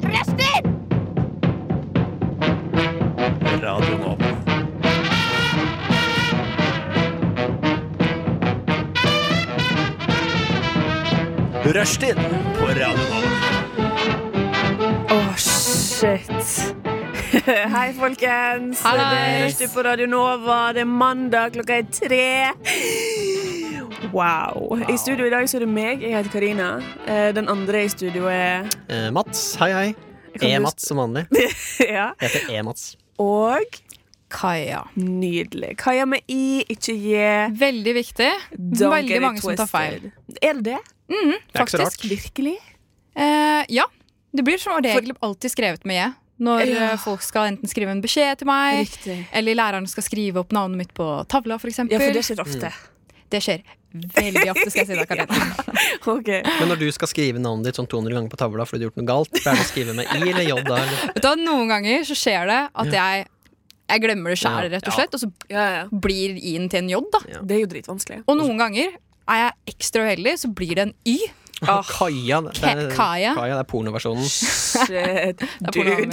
Prester! Radio Nova. Rushtid på Radio Nova. Å, shit. Hei, folkens. Hallais. Det er Rushdie på Radio Nova. Det er mandag, klokka er tre. Wow. I studio i dag så er det meg. Jeg heter Karina. Eh, Den andre i studio er Eh, Mats, hei hei. Kan du- E-Mats som vanlig. ja. Heter E E-Mats. Og Kaja. nydelig. Kaja med i, ikke J. Veldig viktig. Don't get Veldig it mange som tar feil. twisted. Er det det? Det er ikke så rart. Faktisk. Virkelig? Eh, ja. Det blir som regel alltid skrevet med jeg når Ja. eh, folk skal enten skrive en beskjed til meg, Riktig. eller læreren skal skrive opp navnet mitt på tavla, f.eks. Ja, for det det... skjer ofte. skjer veldig ofte, skal jeg si deg, Karina. Ok. Men når du skal skrive navnet ditt sånn 200 ganger på tavla fordi du har gjort noe galt, pleier du å skrive med I eller J da? Eller? Vet du hva, Noen ganger så skjer det at jeg, jeg glemmer det sjæl, Ja. rett og slett, og så Ja, ja. blir i-en til en j, da. Ja. Det er jo dritvanskelig. Og noen ganger er jeg ekstra uheldig, så blir det en y. Ah. Kaja. Det er, Ka- Kaja. Kaja, det er pornoversjonen. Shit, dude.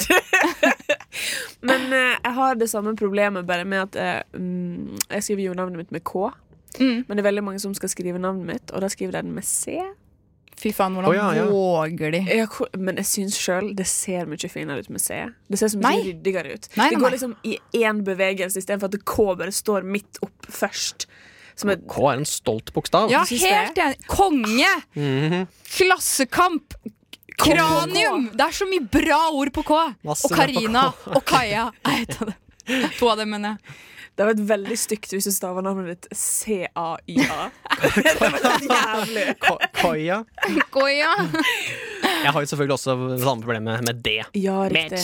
Men eh, jeg har det samme problemet, bare med at eh, mm, jeg skriver jo navnet mitt med K. Mm. Men det er veldig mange som skal skrive navnet mitt, og da skriver de det med C. Fy faen, hvordan Å, ja, ja. våger de? Ja, hvor- men jeg syns sjøl det ser mye finere ut med C. Det ser så mye Nei. ryddigere ut. Nei, nei, det går nei. liksom i én bevegelse istedenfor at K bare står midt opp først. Som et K er en stolt bokstav. Mhm. Ja, syns det. helt enig. Konge! Klassekamp! Kranium! Det er så mye bra ord på K. Masse Og bra på Karina og Kaja er et av dem. To av dem, mener jeg. Det hadde vært veldig stygt hvis du staver navnet ditt C-A-I-A. det hadde vært jævlig. Ka- Kaja. Goya. Jeg har jo selvfølgelig også samme problem med- med D. Ja, riktig.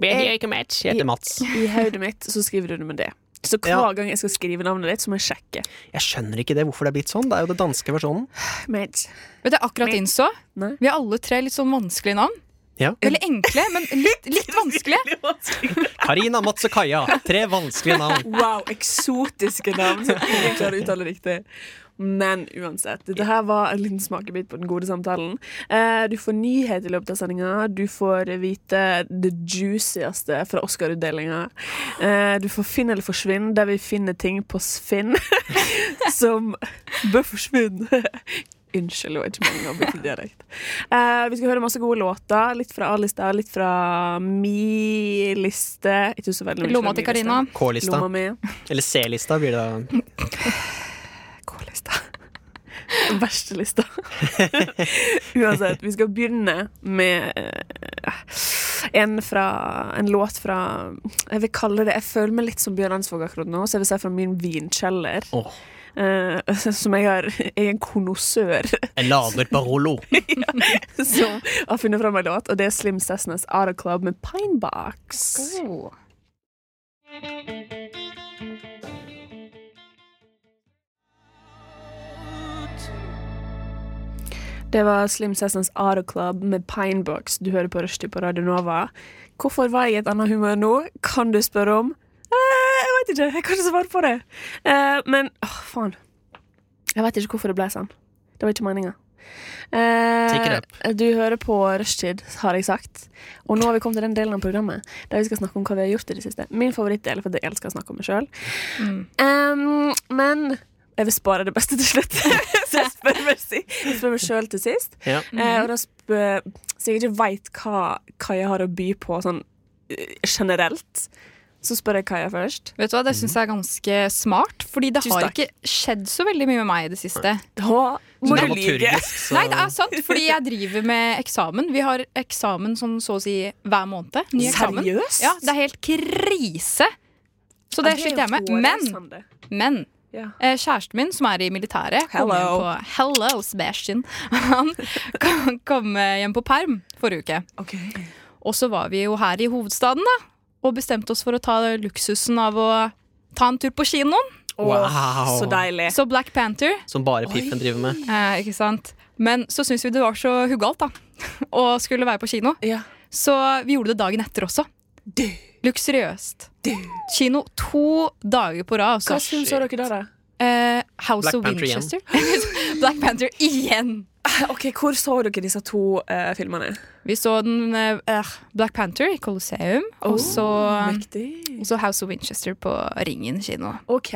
Jeg heter Mats. I hodet mitt så skriver du det med det. Så hver Ja. gang jeg skal skrive navnet ditt, så må jeg sjekke. Jeg skjønner ikke det, hvorfor det er blitt sånn. Det er jo det danske versjonen. Mate. Vet du, jeg akkurat innså Nei. Vi har alle tre litt sånn vanskelige navn. Ja. Veldig enkle, men litt, litt vanskelige. Karina, Mats og Kaja. Tre vanskelige navn. Wow, eksotiske navn som ingen klarer å uttale riktig. Men uansett, dette her var en liten smakebit på den gode samtalen. Eh, Du får nyhet i løpet av sendinga. Du får vite det juicieste fra Oscar-utdelinga. Eh, Du får Finn eller forsvinn, der vi finner ting på Finn som bør forsvinne. Unnskyld, det var ikke meningen å bytte dialekt. Eh, vi skal høre masse gode låter. Litt fra A-lista, litt fra mi liste. Ikke så veldig mye fra Lomma mi til liste. Karina. K-lista. Lomma mi. Eller C-lista blir det da. K-lista. Den verste lista. Uansett, vi skal begynne med eh, en, fra, en låt fra Jeg vil kalle det Jeg føler meg litt som Bjørn Eidsvåg akkurat nå, så jeg vil si fra min vinkjeller. Åh. eh, som jeg har Jeg er en konnoissør Jeg lader på Rollo. som har funnet fram en låt, og det er Slim Cessnas Out of Club med Pinebox. Det var Slim Sessons Aro Club med Pinebox. Du hører på Rushdie på Radio Nova. Hvorfor var jeg i et annet humør nå? Kan du spørre om? Eh, jeg vet ikke. Jeg kan ikke svare på det. Eh, men åh, faen. Jeg vet ikke hvorfor det ble sånn. Det var ikke meninga. Take Eh, it du hører på Rushtid, har jeg sagt. Og nå har vi kommet til den delen av programmet der vi skal snakke om hva vi har gjort i det siste. Min favorittdel, for jeg elsker å snakke om meg sjøl. Mm. men jeg vil spare det beste til slutt. Så jeg spør meg, si- jeg spør meg sjøl til sist. Ja. Eh, og da spør, så jeg ikke veit hva Kaja har å by på sånn eh, generelt, så spør jeg Kaja først. Vet du hva, Det syns jeg er ganske smart, fordi det Tusen har takk. ikke skjedd så veldig mye med meg i det siste. Da må Det er du lyve. liker. Så... Nei, det er sant, fordi jeg driver med eksamen. Vi har eksamen sånn så å si hver måned. Ny eksamen. Seriøst? Ja, det er helt krise. Så det Ja, sliter jeg jo med. Men, hårreisende. men Ja. eh, kjæresten min, som er i militæret, kom Hello. hjem på Hello, Sebastian. Han kom- kom eh, hjem på perm forrige uke. Ok. Og så var vi jo her i hovedstaden, da. Og bestemte oss for å ta luksusen av å ta en tur på kinoen. Wow. Så deilig. Så Black Panther. Som bare piffen driver med. Eh, ikke sant? Men så syntes vi det var så huggalt, da. Å skulle være på kino. Ja. Så vi gjorde det dagen etter også. Du, Luksuriøst. Kino to dager på rad. hva altså. syns dere da, da? Eh, House Black of Panther igjen. Winchester. Black Panther igjen. Ok, Hvor så dere disse to eh, filmene? Vi så den eh, eh, Black Panther i Colosseum, Oh, og så Mektig. og så House of Winchester på Ringen kino. OK.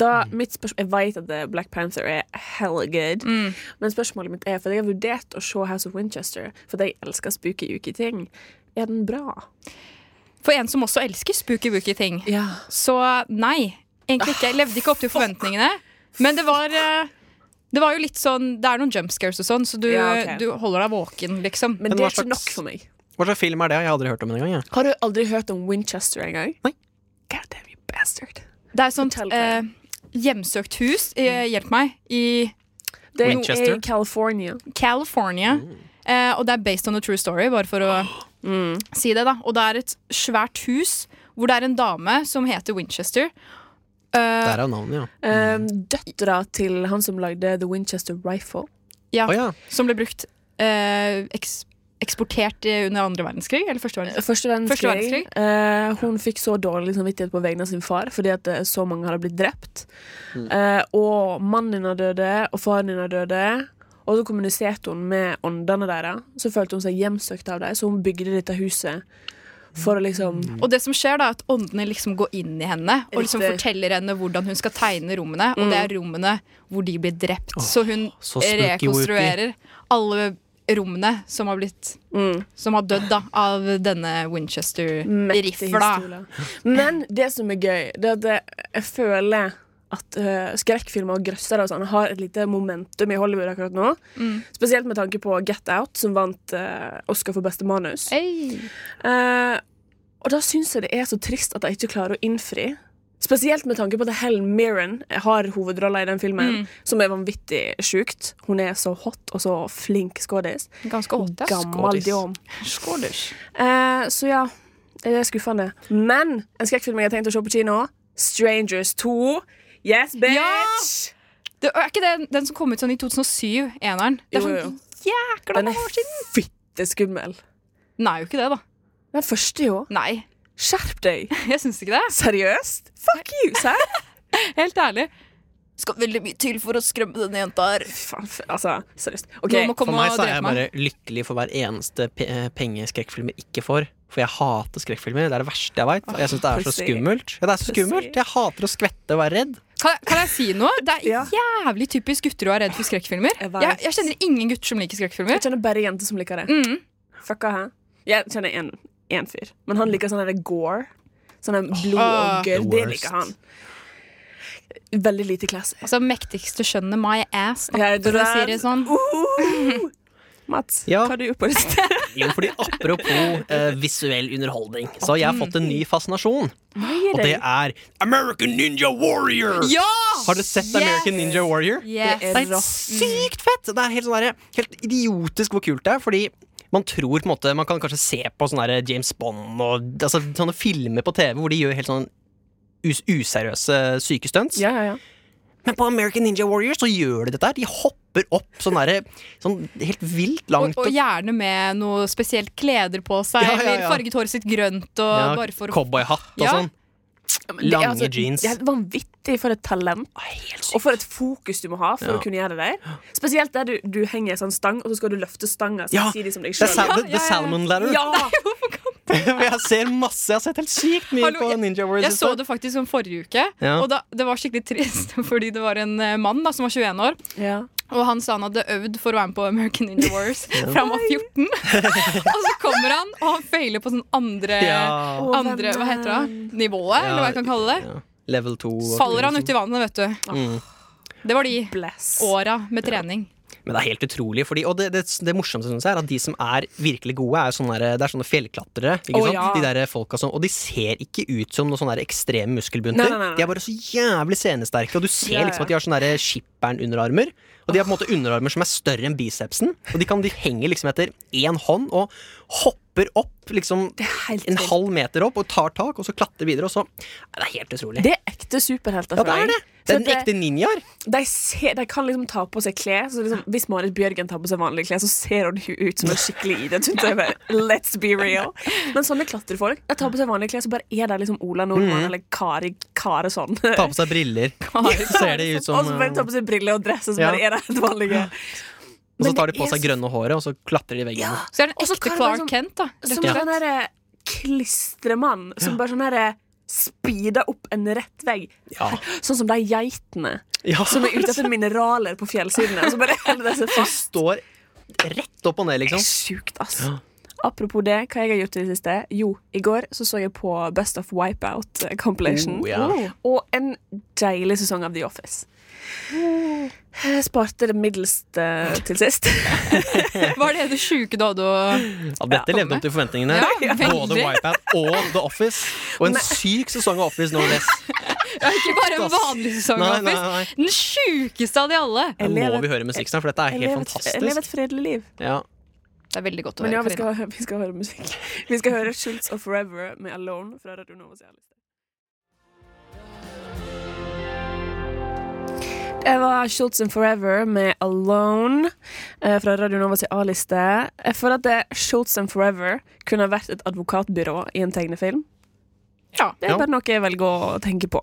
Da, mitt spørsmål, jeg vet at eh, Black Panther er hella good, men spørsmålet mitt er For jeg har vurdert å se House of Winchester, for jeg elsker spooky uke ting. Er den bra? For en som også elsker spooky-wooky-ting. Ja. Ah, Så nei, egentlig ikke. Jeg levde ikke opp til forventningene. Men det var eh, det var jo litt sånn, det er noen jump scares og sånn, så du, Ja, ok. du holder deg våken, liksom. Men Men det hva er ikke slags- nok for meg. Hva slags film er det? Jeg har aldri hørt om den engang. jeg. Har du aldri hørt om Winchester engang? Nei. God damn you bastard. det er sånt fortell Mm. eh, hjemsøkt hus, eh, hjelp meg, i Det er Winchester? i California. California. Eh, og det er based on a true story, bare for å Mm. si det. da Og det er et svært hus hvor det er en dame som heter Winchester. Eh, Der er jo navnet, ja. Um, Døtra til han som lagde The Winchester Rifle. ja, Å ja. Som ble brukt eh, eks eksportert eh, under andre verdenskrig, eller første verdenskrig. Første Første verdenskrig. verdenskrig. Eh, hun fikk så dårlig samvittighet på vegne av sin far fordi at eh, så mange hadde blitt drept. Eh, og mannen hennes døde, og faren hennes døde. Og så kommuniserte hun med åndene deres. Så følte hun seg hjemsøkt av dem, så hun bygde dette huset for å liksom Og det som skjer da, er at åndene liksom går inn i henne og liksom Riktig. Mm. forteller henne hvordan hun skal tegne rommene, og det er rommene hvor de blir drept. så hun så spooky wooky. rekonstruerer alle rommene som har blitt mm. Som har dødd da, av denne Mektig Winchester-rifla. historie. Men det som er gøy, det er at jeg- jeg føler at eh, skrekkfilmer og grøssere og sånn har et lite momentum i Hollywood akkurat nå. Spesielt med tanke på Get Out, som vant eh, Oscar for beste manus. Hey. Eh, og da syns jeg det er så trist at de ikke klarer å innfri. Spesielt med tanke på at Helen Mirren har hovedrolla i den filmen, som er vanvittig sjukt. Hun er så hot og så flink skådis. Ganske hot, ja. Gammel skådis. Dion. Skåders. Eh, så ja, det er skuffende. Men en skrekkfilm jeg har tenkt å se på kino, Strangers 2. Yes, bitch! Det er ikke den, den som kom ut sånn i 2007, eneren. Det er Jo, jo, jo. sånn jækla Den mange er år siden! fitteskummel. Den er jo ikke det, da. Den første, jo. Nei, Skjerp deg. jeg syns ikke det. Seriøst? Fuck you, serr? Helt ærlig. Skal veldig mye til for å skremme denne jenta her. Faen, f- altså, seriøst. OK. Noen må For komme meg og så er jeg drepe meg. bare lykkelig for hver eneste pe eh, penge skrekkfilmer ikke får. For jeg hater skrekkfilmer. Det er det verste jeg veit. Og jeg syns det er så pussy. skummelt. Ja, det er så skummelt. Jeg hater å skvette og være redd. Kan, kan jeg si noe? Det er Ja. jævlig typisk gutter å være redd for skrekkfilmer. Jeg Jeg, vet. jeg, kjenner ingen gutter som liker skrekkfilmer. Jeg kjenner bare jenter som liker det. Mm. Fucka, hæ? Jeg kjenner en, en fyr, men han liker sånn der gore. Sånn der blod Ah. og gørr. The Det worst. liker han. Veldig lite classy. Altså, mektigste skjønnet my ass, da, Jeg er for å si redd. det sånn. Uh. Mats, Ja. hva har du gjort på det stedet? Jo, fordi apropos eh, visuell underholdning, så har jeg fått en ny fascinasjon. Og det er American Ninja Warrior! Ja! Har du sett American Ninja Warrior? Yes. Det Det er helt sykt fett! Det er helt, sånn derre- helt idiotisk hvor kult det er. Fordi man tror på en måte Man kan kanskje se på sånne derre James Bond og altså, sånne filmer på TV hvor de gjør helt sånn us useriøse sykestunts. Ja, ja, ja. Men på American Ninja Warrior så gjør de dette her. De hopper opp sånn derre sånn helt vilt langt. Og, og gjerne med noe spesielt kleder på seg, Ja, ja, ja. eller farget håret sitt grønt. Og ja, bare for å Cowboyhatt og Ja. sånn. Men det er Lange altså- jeans. Det er helt vanvittig for et talent. Og for et fokus du må ha for Ja. å kunne gjøre det. Spesielt der du, du henger i sånn stang, og så skal du løfte stanga Ja, samtidig som deg Det er sjøl. sal the, Ja, ja, the ja. Salmon Ladder. Ja! jeg ser masse. Jeg har sett helt sykt mye Hallo, på jeg- Ninja Warrior. Jeg så det faktisk om forrige uke, Ja. og da, det var skikkelig trist. Fordi det var en eh, mann da, som var 21 år, ja. og han sa han hadde øvd for å være med på American Ninja Wars fra han var 14. og så kommer han, og han feiler på sånn andre, Ja. Å, andre Hva heter det? vennen. Nivået, eller hva jeg kan kalle det. Ja. Level 2. og- liksom. Faller han uti vannet, vet du. Mm. Det var de Bless. åra med trening. Men det er helt utrolig. Fordi, og det, det, det morsomste synes jeg er at de som er virkelig gode, er jo sånne, der, det er sånne fjellklatrere. Ikke Å, sant? ja. De der folka som, og de ser ikke ut som noen sånne der ekstreme muskelbunter. Nei, nei, nei, nei. De er bare så jævlig scenesterke, og du Ja, ser ja. liksom at de har sånne der skipperen-underarmer. Og de har på en måte underarmer som er større enn bicepsen. Og de, kan, de henger liksom etter én hånd og hopper opp liksom helt en vilt. halv meter opp og tar tak, og så klatrer videre, og så Nei, Det er helt utrolig. Det er ekte superhelter. ja, for det er meg. det! Det Så er den ekte ninjaer. de, ser, de kan liksom ta på seg klær. Så liksom, hvis Marit Bjørgen tar på seg vanlige klær, så ser hun hu- ut som en skikkelig idrettsutøver. Let's be real. Men sånne klatrefolk de tar på seg vanlige klær, så bare er de liksom Ola Nordmann eller Kari Kareson. Mm. Ta på seg briller. Ser de ut som og så bare eh, tar på seg briller og dress, og så Ja. bare er de helt vanlige. Og så Men tar de det på er seg så- grønne håret, og så klatrer de i veggen. Ja, Så er det en Og så ekte kan det være Clark sånn- Kent, da. Rett Som og en slett. sånn derre klistremann som bare sånn herre speeder opp en rett vei. Ja. Sånn som de geitene Ja, som er ute etter mineraler på fjellsidene. Og så bare holder de seg fast. står rett opp og ned, Det liksom. er sjukt, ass. Apropos det, hva jeg har gjort i det siste? Jo, i går så, så jeg på Best of Wipeout eh, compilation. Oh, ja. Oh. Og en deilig sesong av The Office. Oh. Jeg sparte det middelst eh, til sist. Var det det sjuke du hadde å Ja, dette Ja. levde opp til forventningene. Ja, Både veldig. Wipeout og The Office. Og en syk sesong av Office no less. Ja, Ikke bare en Ass. vanlig sesong, Nei, nei, Office. nei. Den sjukeste av de alle. Her Jeg må lever- vi høre musikk snart, for dette er Jeg helt lever et- Jeg lever fantastisk. et fredelig liv. Ja. Det er veldig godt å Men ja, høre. vi Karina. skal, vi skal høre musikk. Vi skal høre Schultz of Forever med Alone fra Radio Nova. sin liste. Det var Schultz and Forever med Alone eh, fra Radio Nova til A-liste. Jeg føler at det Schultz and Forever kunne ha vært et advokatbyrå i en tegnefilm. Ja. Det er Ja. bare noe jeg velger å tenke på.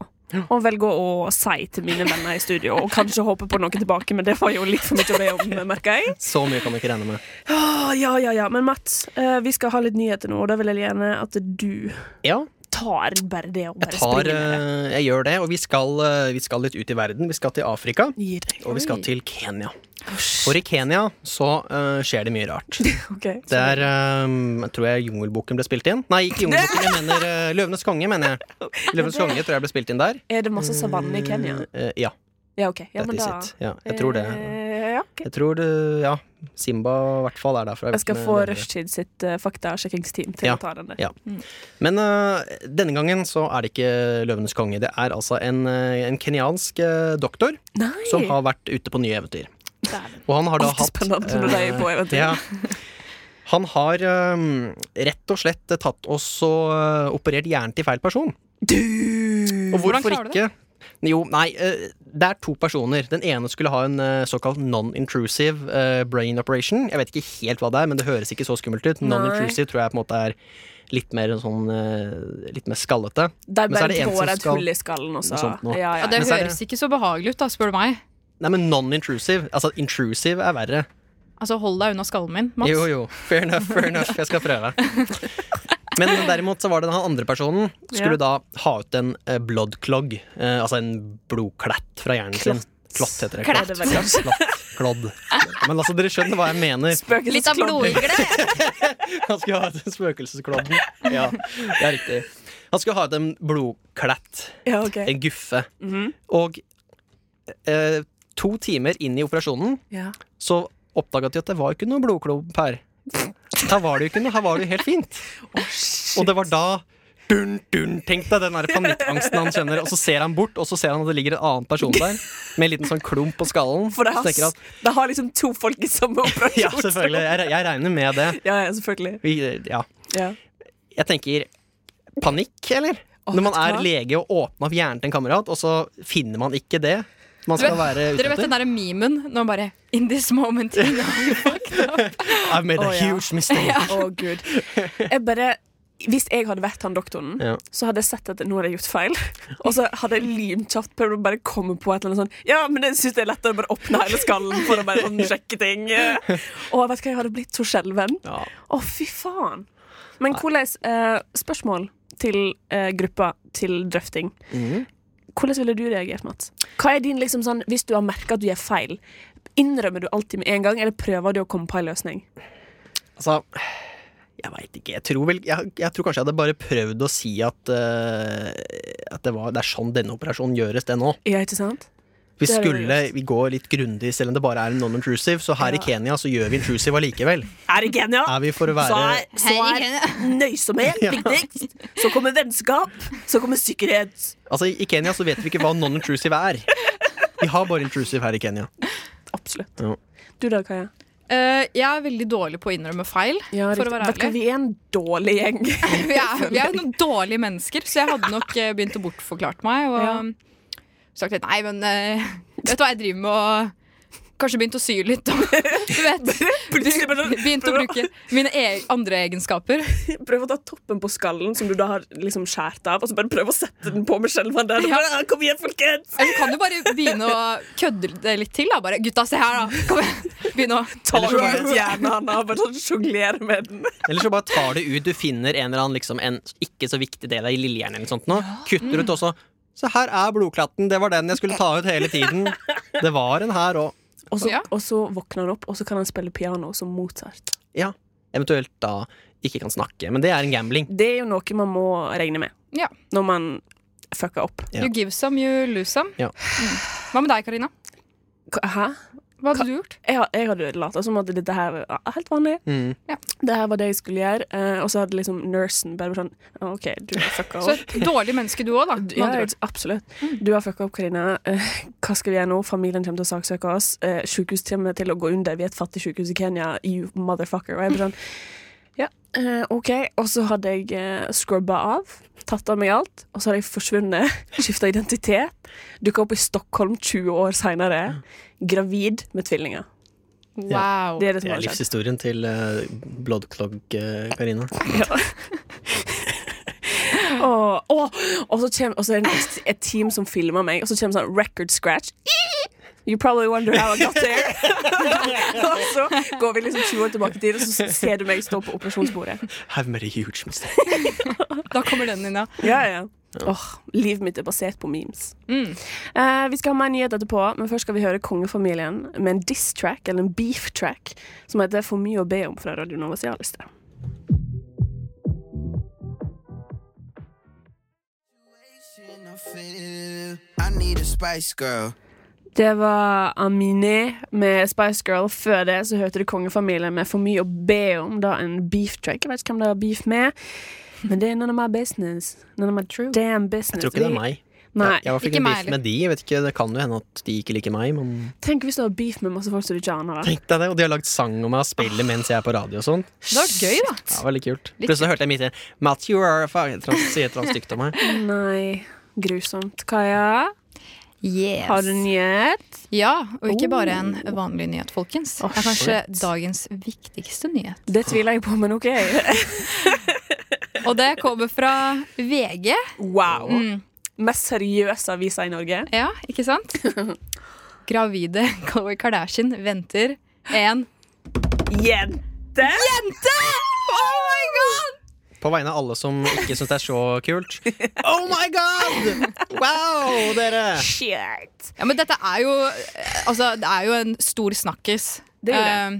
Og velger å si til mine venner i studio, og kanskje håpe på noe tilbake, men det var jo litt for mye å be om, merker jeg. Så mye kan vi ikke regne med. Åh, Ah, ja, ja, ja. Men Mats, eh, vi skal ha litt nyheter nå, og da vil jeg gjerne at du Ja, tar bare det og bare jeg, tar, springer med det. eh, jeg gjør det. Og vi skal, eh, vi skal litt ut i verden. Vi skal til Afrika, Gi deg. og vi skal til Kenya. For i Kenya så eh, skjer det mye rart. Ok. Det er eh, Jeg tror jeg Jungelboken ble spilt inn. Nei, ikke Jungelboken. Jeg mener eh, Løvenes konge, mener jeg. Løvenes konge tror jeg ble spilt inn der. Mm, Er det masse savanne i Kenya? Eh, ja, Ja, OK. Ja, that men is da it. Ja, jeg tror det. Eh, ja, ok. Jeg tror det, ja. Simba i hvert fall er derfra. Jeg skal vet få med- Rushtid sitt eh, faktasjekkingsteam til Ja. å ta den der. Ja. Men eh, denne gangen så er det ikke Løvenes konge. Det er altså en, eh, en kenyansk eh, doktor Nei! som har vært ute på nye eventyr. Dæven. Og han har da Alltid hatt spennende når de er eh, på eventyr. Ja. Han har eh, rett og slett tatt oss og eh, operert hjernen til feil person. Og Hvordan hvorfor klarer du ikke? Jo, nei, eh, det er to personer. Den ene skulle ha en eh, såkalt non-intrusive eh, brain operation. Jeg vet ikke helt hva det er, men det høres ikke så skummelt ut. Non-intrusive tror jeg på en måte er litt mer sånn eh, Litt mer skallete. De Men så er bare det en som får et skal- hull i skallen, og så Sånt nå. ja, Ja, ja, det Men så er det- høres ikke så behagelig ut, da, spør du meg. Nei, men non-intrusive. Altså, intrusive er verre. Altså, hold deg unna skallen min, Mats. Jo, jo. Fair enough, fair enough. Jeg skal prøve. Men derimot så var det den andre personen skulle da ha ut en eh, blood clog. eh, altså en blodklett fra hjernen sin. Klott heter det. Klett. Klott. Klott. Klodd. Men altså, dere skjønner hva jeg mener. Spøkelses- Litt av blodigler. Han skulle ha ut en spøkelsesklodden. Ja, det er riktig. Han skulle ha ut en blodklett. Ja, ok. En guffe. Og eh, to timer inn i operasjonen Ja. så oppdaga de at det var jo ikke noe blodklump her. Her var det jo ikke noe, her var det jo helt fint. og det var da dun, dun, Tenk deg den der panikkangsten han kjenner, og så ser han bort, og så ser han at det ligger en annen person der med en liten sånn klump på skallen. For det Så har, tenker han, det har liksom to folk i samme operasjon. ja, selvfølgelig. Jeg, re- jeg regner med det. Ja, ja, selvfølgelig. Vi, ja. Ja. Jeg tenker panikk, eller? Å, Når man vet du er hva? lege og åpner opp hjernen til en kamerat, og så finner man ikke det man Du skal vet- være ute Dere vet den etter. derre memen når han bare In this moment you know you fucked up. I've made a Å, ja. huge mistake. Å, gud. Jeg bare hvis jeg hadde vært han doktoren, Ja. så hadde jeg sett at nå hadde jeg gjort feil. Og så hadde jeg lynkjapt prøvd å bare komme på et eller annet sånn Ja, men jeg syns det er lettere å bare åpne hele skallen for å bare sånn sjekke ting. Og vet du hva, jeg hadde blitt så skjelven. Å, Ja. fy faen. Men hvordan eh, Spørsmål til eh, gruppa til drøfting. Hvordan ville du reagert, Mats? Hva er din liksom sånn, Hvis du har merka at du gjør feil, innrømmer du alltid med en gang, eller prøver du å komme på en løsning? Altså, jeg veit ikke. Jeg tror, vel, jeg, jeg tror kanskje jeg hadde bare prøvd å si at, eh, at det, var, det er sånn denne operasjonen gjøres, det nå. Ja, ikke sant? Vi Det er det vi skulle vi går litt grundig, selv om det bare er en non-intrusive. Så her i Ja. Kenya så gjør vi intrusive allikevel. Er det Kenya? Er vi for å Så være er, så er nøysomhet viktigst. Så kommer vennskap. Så kommer sikkerhet. Altså, i Kenya så vet vi ikke hva non-intrusive er. Vi har bare intrusive her i Kenya. Absolutt. Ja. Du da, Kaja? Eh, jeg er veldig dårlig på å innrømme feil, for å være Vet du hva, ærlig. vi er en dårlig gjeng. Vi er, vi er jo noen dårlige mennesker, så jeg hadde nok eh, begynt å bortforklart meg. Og Ja. um, sagt litt nei, men eh, vet du hva jeg driver med, og kanskje begynt å sy litt. og- Du vet. Plutselig bare- sånn, Begynt å bruke mine e andre egenskaper. Prøv å ta toppen på skallen som du da har liksom skjært av, og så bare prøv å sette den på med skjelven der. Ja. Bare, «Ah, Kom igjen, folkens! Eller Altså, kan du bare begynne å kødde det litt til? da Bare 'gutta, se her', da. Kom igjen. Begynne å Ta Eller så bare- ut hjernen og bare sånn sjonglere med den. Eller så bare tar du ut Du finner en eller annen liksom, en ikke så viktig del av lillehjernen. Eller noe sånt nå. Kutter ut også. Så her er blodklatten. Det var den jeg skulle ta ut hele tiden. Det var en her òg. Og så, Ja. og så våkner han opp, og så kan han spille piano som Mozart. Ja. Eventuelt da ikke kan snakke. Men det er en gambling. Det er jo noe man må regne med Ja. når man fucker opp. Ja. You give some, you lose some. Ja. Mm. Hva med deg, Karina? K- Hæ? Hva hadde du gjort? Jeg, har- jeg hadde lata som at dette her var helt vanlig. Mm. Det her var det jeg skulle gjøre. eh, Og så hadde liksom nursen bare vært sånn «Ah, OK, du har fucka Så opp. et dårlig menneske du òg, da. med Ja, andre ord. Mm. jeg- absolutt. Du har fucka opp, Karina. Eh, Hva skal vi gjøre nå? Familien kommer til å saksøke oss. Eh, Sykehus kommer til å gå under. Vi er et fattig sykehus i Kenya. You motherfucker. Og jeg bare sånn Ja, eh, OK. Og så hadde jeg eh, scrubba av. Tatt av meg alt. Og så hadde jeg forsvunnet. Skifta identitet. Dukka opp i Stockholm 20 år seinere. Gravid med tvillinger. Wow. Det er det som Det har er skjedd. livshistorien til uh, Karina. Åh, åh. Og så kommer og så er det et, et team som filmer meg, og så kommer sånn record scratch. You probably wonder how I got there. og så går vi liksom 20 år tilbake i tid, og så ser du meg stå på operasjonsbordet. Have made a huge mistake. Da kommer den inn, ja. Ja, ja. Åh, livet mitt er basert på memes. Mm. Eh, vi skal ha mer nyhet etterpå, men først skal vi høre Kongefamilien med en diss-track, eller en beef-track, som heter For mye å be om fra Radio Nova Sialista. I need a Spice Girl. Det var Aminé med Spice Girl. Før det så hørte du Kongefamilien med For mye å be om, da en beef track. Jeg vet ikke hvem det har beef med, men det er none of my business. None of my True. damn business. Jeg tror ikke det er meg. Nei. Jeg var ikke ikke meg beef med de. Jeg vet ikke, det kan jo hende at de ikke liker meg. Men Tenk hvis du har beef med masse folk som du ikke aner. da. tenk deg det, Og de har lagd sang om meg og spiller mens jeg er på radio og sånn. Det var gøy, da. Ja, veldig kult. Litt Plutselig hørte jeg midt i Matt, you are a fuck Sier et eller annet stygt om meg. Nei. Grusomt. Kaja, Yes. har du nyhet? Ja, og ikke bare en Oh. vanlig nyhet, folkens. Det er kanskje dagens viktigste nyhet. Det tviler jeg på, men OK. Og det kommer fra VG. Wow. Mest seriøse aviser i Norge. Ja, ikke sant? Gravide Khloé Kardashian venter en Jente! Jente! Oh my god! På vegne av alle som ikke syns det er så kult. Oh my god! Wow, dere! Shit. Ja, men dette er jo eh, Altså, det er jo en stor snakkis. Det er Eh,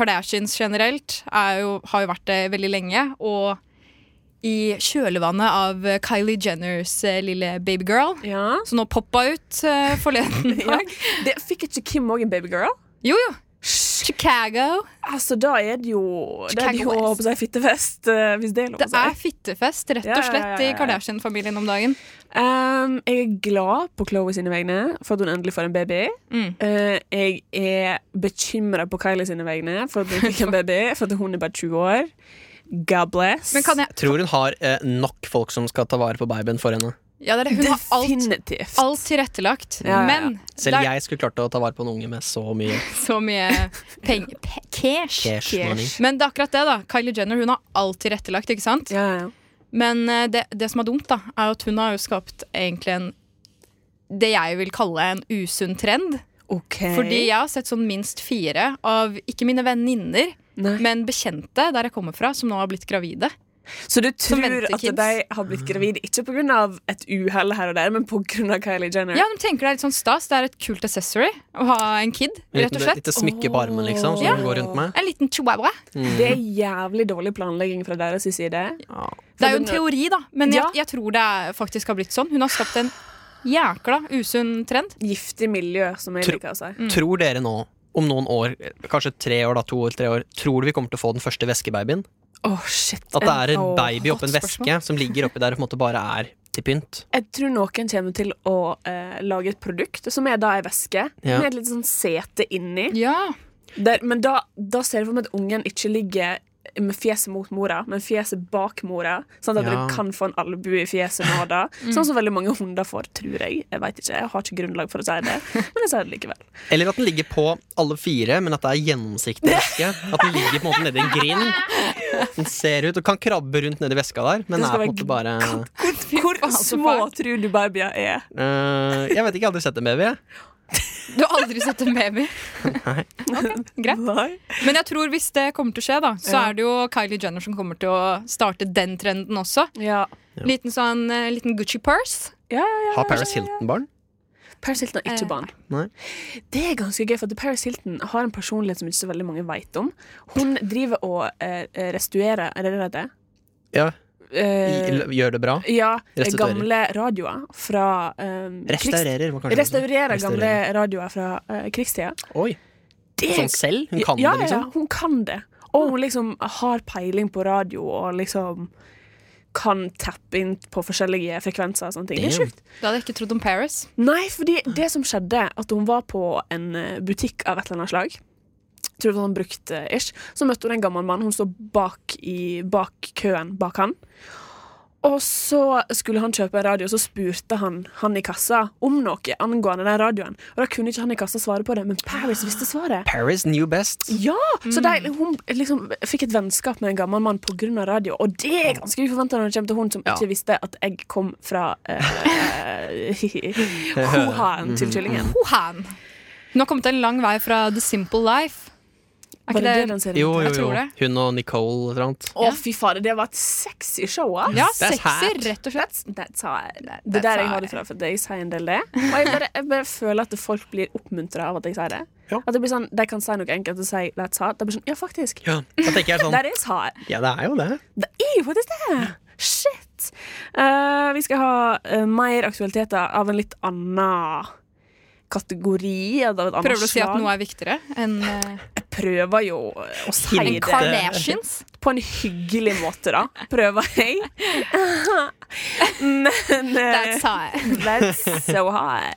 Kardashians generelt er jo, har jo vært det veldig lenge. Og i kjølvannet av eh, Kylie Jenners eh, lille babygirl, Ja. som nå poppa ut eh, forleden ja. dag. Det, fikk ikke Kim òg en babygirl? Jo, jo. Chicago. Altså, da er det jo Det er det jo Chicago å West. si fittefest, eh, hvis det er lov Det å er si. fittefest, rett Ja, og ja, slett, ja, ja, i ja. Kardashian-familien om dagen. Um, jeg er glad på Chloé sine vegne for at hun endelig får en baby. Mm. Eh, jeg er bekymra på Kylie sine vegne for at hun fikk en baby, for at hun er bare 20 år. God bless. Men kan jeg Tror hun har eh, nok folk som skal ta vare på babyen for henne. Ja, det er det. Hun har alt, Definitivt. alt tilrettelagt. Ja, ja, ja. Men det Selv er jeg skulle klart å ta vare på en unge med så mye så mye penger pe cash. cash money. Men det er akkurat det, da. Kylie Jenner hun har alt tilrettelagt. ikke sant? Ja, ja. Men eh, det, det som er dumt, da, er jo at hun har jo skapt egentlig en det jeg vil kalle en usunn trend. OK. Fordi jeg har sett sånn minst fire av ikke mine venninner, Nei. men bekjente der jeg kommer fra, som nå har blitt gravide. Så du tror venter at kids. de har blitt gravide ikke pga. et uhell her og der, men pga. Kylie Jenner? Ja, de tenker det er litt sånn stas. Det er et kult accessory å ha en kid, rett og slett. Litt smykke på armen, liksom, som Ja. hun går rundt med. En liten chihuahua. Det er jævlig dårlig planlegging fra deres side. Ja. Det er jo en teori, da, men jeg, Ja. jeg tror det er, faktisk har blitt sånn. Hun har skapt en jækla usunn trend. Giftig miljø, som jeg Tro- liker å si. Mm. Tror dere nå, om noen år, eh, kanskje tre år, da, to eller tre år, tror du vi kommer til å få den første veskebabyen? Åh, shit At det er en Åh. baby oppi en godt veske spørsmål. som ligger oppi der og på en måte bare er til pynt? Jeg tror noen kommer til å eh, lage et produkt som er da ei væske Ja. med et litt sånn sete inni. Ja. Der, men da, da ser jeg for meg at ungen ikke ligger med fjeset mot mora, men fjeset bak mora. Sånn at Ja. du kan få en albue i fjeset nå og da. Mm. Sånn som veldig mange hunder får, tror jeg. Jeg vet ikke, jeg har ikke grunnlag for å si det, men jeg sier det likevel. Eller at den ligger på alle fire, men at det er gjennomsiktig væske. At den ligger på en måte nedi en grind. Den ser ut og kan krabbe rundt nedi veska der, men Den er skal på en måte bare Hvor faen, så små fælt. tror du babyer er? Eh, Jeg vet ikke, jeg har aldri sett en baby. jeg. Du har aldri sett en baby? Ok, greit. Nei. Men jeg tror hvis det kommer til å skje, da, så Ja. er det jo Kylie Jenner som kommer til å starte den trenden også. Ja. Liten sånn eh, liten Gucci purse. Ja, ja, ja. Har Paris Hilton barn? Paris Hilton har Eh, ikke barn. Nei. Det er ganske gøy, for at Paris Hilton har en personlighet som ikke så veldig mange vet om. Hun driver og eh, restaurerer, er det det det heter? Ja, Eh, i- Gjør det bra? ja, Restaurerer. gamle radioer fra eh, krigs- Restaurerer, må kanskje Restaurerer gamle Restaurerer. radioer fra eh, krigstida. Oi, Det Sånn selv? Hun kan ja, det, liksom? Ja, hun kan det. Og hun liksom har peiling på radio og liksom kan tappe inn på forskjellige frekvenser og sånne ting. Det er Damn. sjukt. Det hadde jeg ikke trodd om Paris. Nei, fordi det som skjedde, at hun var på en eh, butikk av et eller annet slag. Tror det var sånn brukt eh, ish. Så møtte hun en gammel mann. Hun står bak, i, bak køen bak han. Og så skulle han kjøpe en radio, så spurte han han i kassa om noe angående den radioen. Og da kunne ikke han i kassa svare på det, men Paris visste svaret. Paris knew best. Ja! Så de, hun liksom fikk et vennskap med en gammel mann pga. radio, og det er ganske uforventa når det kommer til hun som ikke visste at jeg kom fra eh, hohaen til kyllingen. Wuhan. Hun har kommet en lang vei fra The Simple Life. Er Var ikke det det det den serien Jo, jo, Jeg jo. tror det. Hun og Nicole eller noe. Å, fy fader, det var et sexy show, ass. Ja, That's sexy, hot. rett og slett. That's hot. that's Det der jeg hot. har det fra, for jeg sier en del det. Og jeg bare, jeg bare føler at folk blir oppmuntra av at jeg sier det. Ja. At det blir sånn, De kan si noe enkelt og si 'that's hot'. Det blir sånn, ja, faktisk. Ja, da tenker jeg sånn That is hot. Ja, det er jo det. Det er jo faktisk det! Shit! Eh, vi skal ha eh, mer aktualiteter av en litt annen kategori. Av et annet Prøver du å si at slag. noe er viktigere enn eh, Jeg prøver jo å si enn det. Kardashians? På en hyggelig måte, da. Prøver jeg. Men eh, That's hot. That's so high.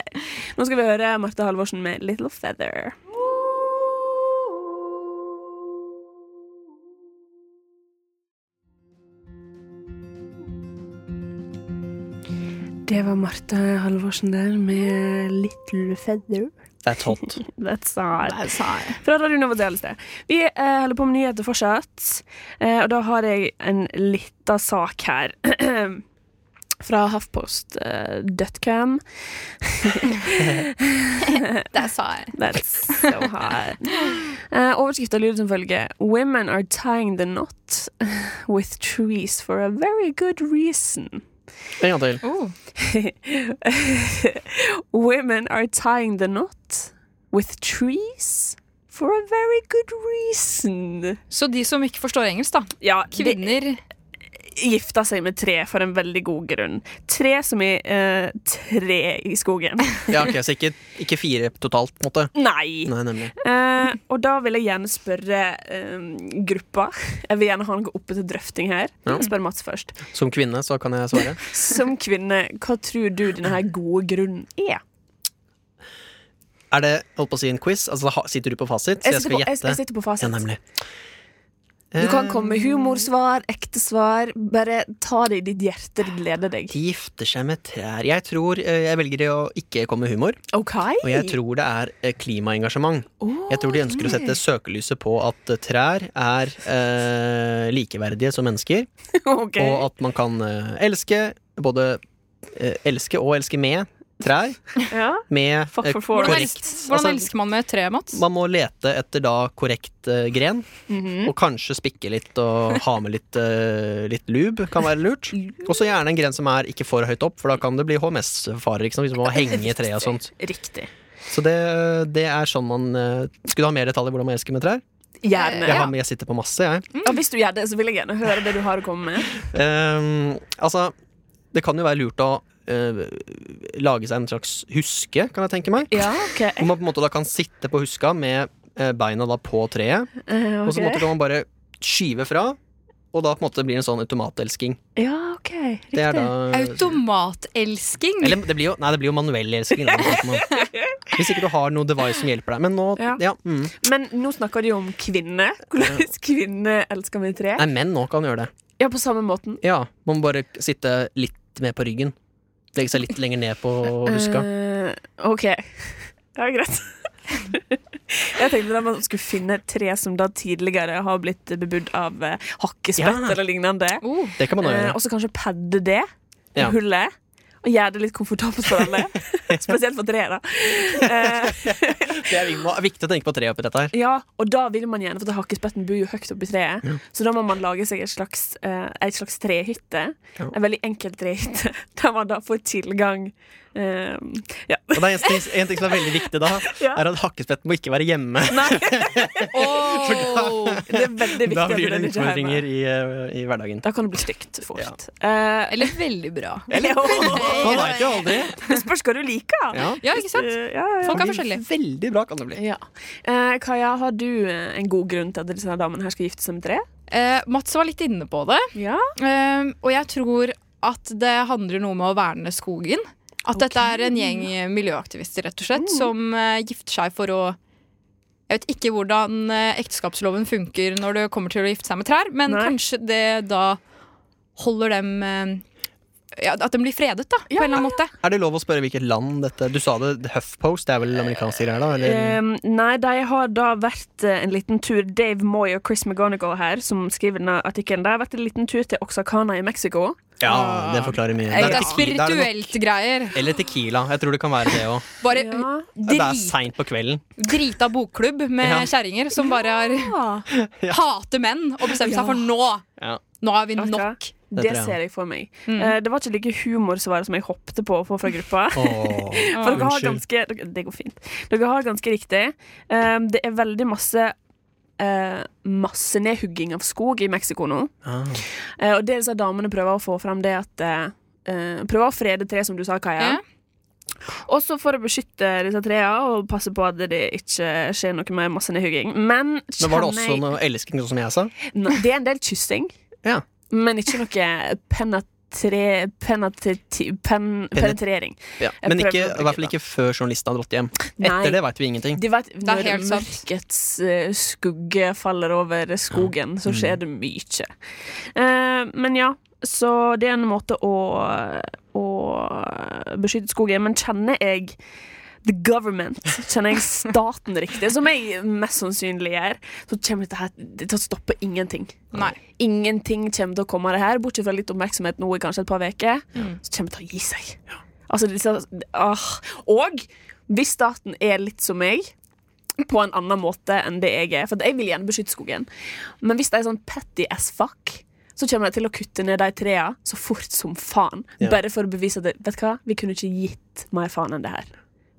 Nå skal vi høre Marte Halvorsen med Little Feather. Det var Marte Halvorsen der med Little Feather. That's hot. That's hard. That's hot. Fra Radio Nova til alle sted. Vi eh, holder på med nyheter fortsatt, eh, og da har jeg en lita sak her. Fra Huffpost eh, Dotcam. That's hot. That's so hard. Eh, Overskriften lyder som følger Women are tying the knot with trees for a very good reason. En gang til. Oh. Women are tying the knot with trees for a very good reason. Så de som ikke forstår engelsk, da. Ja, det- Kvinner. gifta seg med tre for en veldig god grunn. Tre som i eh, tre i skogen. Ja, ok, Så ikke, ikke fire totalt, på en måte. Nei! Nei, nemlig. Eh, og da vil jeg gjerne spørre eh, gruppa. Jeg vil gjerne ha noe oppe til drøfting her. Ja. Spør Mats først. Som kvinne så kan jeg svare. Som kvinne, hva tror du denne her gode grunnen er? Er det holdt på å si en quiz? Altså, ha- Sitter du på fasit? Så Jeg jeg sitter skal på, jeg, jeg gjette. sitter på Ja, fasit. nemlig. Eh, Du kan komme med humorsvar, ekte svar. Bare ta det i ditt hjerte, det gleder deg. De gifter seg med trær. Jeg tror eh, Jeg velger å ikke komme med humor. OK? Oh, Og jeg tror det er eh, klimaengasjement. Jeg tror de ønsker å sette søkelyset på at eh, trær er eh, likeverdige som mennesker. Ok. Og at man kan eh, elske både eh, elske og elske med trær. Ja. Med Fuck eh, for forest. Hvordan, korrekt elsker, hvordan altså, elsker man med tre, Mats? Man må lete etter da korrekt eh, gren, Mhm. og kanskje spikke litt og ha med litt, eh, litt lube. Kan være lurt. Og så gjerne en gren som er ikke for høyt opp, for da kan det bli HMS-farer. Ikke sant? Hvis man må henge i treet og sånt. Riktig. Så det, det er sånn man eh, Skulle du ha mer detaljer hvordan man elsker med trær? Gjerne. Jeg, har, med- jeg sitter på masse, jeg. Ja, hvis du gjør det, så vil jeg gjerne høre det du har å komme med. Ehm, altså, det kan jo være lurt å eh, lage seg en slags huske, kan jeg tenke meg. Ja, ok. Hvor man på en måte da kan sitte på huska med eh, beina da på treet. Eh, Og så på en ok. måte kan man bare skyve fra, og da på en måte blir det en sånn automatelsking. Ja, ok. Riktig. Det er da Automatelsking? Eller det blir jo, nei, det blir jo manuell elsking. Da, sånn at man- Hvis ikke du har noe device som hjelper deg. Men nå Ja. ja. mm. Men nå snakker de om kvinner. Hvordan kvinner elsker vi tre. Nei, menn nå kan gjøre det. Ja, på samme måten. Ja, Man må bare sitte litt mer på ryggen. Legge seg litt lenger ned på huska. Eh, OK. Det er greit. Jeg tenkte at man skulle finne et tre som da tidligere har blitt bebudd av eh, hakkespett Ja. Sånn eller lignende. Oh. Det kan man også Eh, gjøre. og så kanskje padde det Ja. hullet. Og gjøre det litt komfortabelt for alle. Spesielt for tre, da. Eh, Det er vik- viktig å tenke på treet oppi dette her. ja, og da vil man gjerne, for at hakkespetten bor jo høyt oppi treet, så da må man lage seg et slags, eh, et slags trehytte. Ja. En veldig enkel trehytte, der man da får tilgang eh, Ja. Og det er en ting, en ting som er veldig viktig da, Ja. er at hakkespetten må ikke være hjemme. Nei, Oh. det er veldig viktig Da at blir det den ikke er hjemme. utfordringer i, eh, i hverdagen. Da kan det bli stygt fort. Eh, Eller veldig bra. eller, Man veit jo aldri. det spørs hva du liker. Ja. Ja, ikke sant? Eh, ja, ja, ja. Folk er forskjellige. Veldig bra kan det bli. Ja. Eh, Kaja, har du eh, en god grunn til at disse her damene her skal gifte seg med tre? Eh, Mats var litt inne på det. Ja. Ehm, og jeg tror at det handler noe med å verne skogen. At dette er en gjeng eh, miljøaktivister rett og slett som eh, gifter seg for å Jeg vet ikke hvordan eh, ekteskapsloven funker når det kommer til å gifte seg med trær, men Nei. kanskje det da holder dem eh, ja, At de blir fredet, da, på en eller annen måte. Er det lov å spørre hvilket land dette Du sa det Huffpost, det er vel amerikansk greier, da? Eller? Ehm, nei, de har da vært eh, en liten tur Dave Moy og Chris McGonagall her, som skriver denne artikkelen, de har vært en liten tur til Oxacana i Mexico. Ja, det forklarer mye. eh, Det Det er tequila, er det noe- spirituelt greier. Eller Tequila. Jeg tror det kan være det òg. Bare Ja. Det er drit, seint på kvelden. drita bokklubb med Ja. kjerringer som bare har hater menn og bestemmer seg for nå. Ja. Nå er vi Vet du hva? nok. Det, tror jeg. ser jeg for meg. Eh, det var ikke like humorsvar som jeg hoppte på å få fra gruppa. Åh, For dere har unnskyld. ganske dere- Det går fint. Dere har ganske riktig. Ehm, det er veldig masse eh, Masse nedhugging av skog i Mexico nå. Ah. Eh, og det disse damene prøver å få fram, det at eh, eh, Prøver å frede tre, som du sa, Kaja. Ja. Også for å beskytte disse trærne og passe på at det ikke skjer noe med masse nedhugging. Men, Men var det kjenner også jeg- noe elsking, sånn som jeg sa? Nei, Det er en del kyssing, Ja. men ikke noe penetre, penetrati- pen, penetrering. ja. Jeg Men prøver ikke, å bruke i hvert fall det. ikke før journalisten har dratt hjem. Nei. Etter det veit vi ingenting. Du vet, når helt sant. mørkets eh, skugge faller over skogen, så skjer det mye. Eh, men ja, så det er en måte å, å beskytte skogen. Men kjenner jeg the government, kjenner jeg staten riktig, som jeg mest sannsynlig gjør, så kommer dette her til å stoppe ingenting. Nei. Ingenting kommer til å komme av det her, bortsett fra litt oppmerksomhet nå i kanskje et par uker. Mm. Så kommer det til å gi seg. Altså, disse, ah. Og hvis staten er litt som meg, på en annen måte enn det jeg er For jeg vil gjerne beskytte skogen. Men hvis de er sånn petty as fuck, så kommer de til å kutte ned de trærne så fort som faen. Ja. Bare for å bevise at det- vet du hva? vi kunne ikke gitt mer faen enn det her.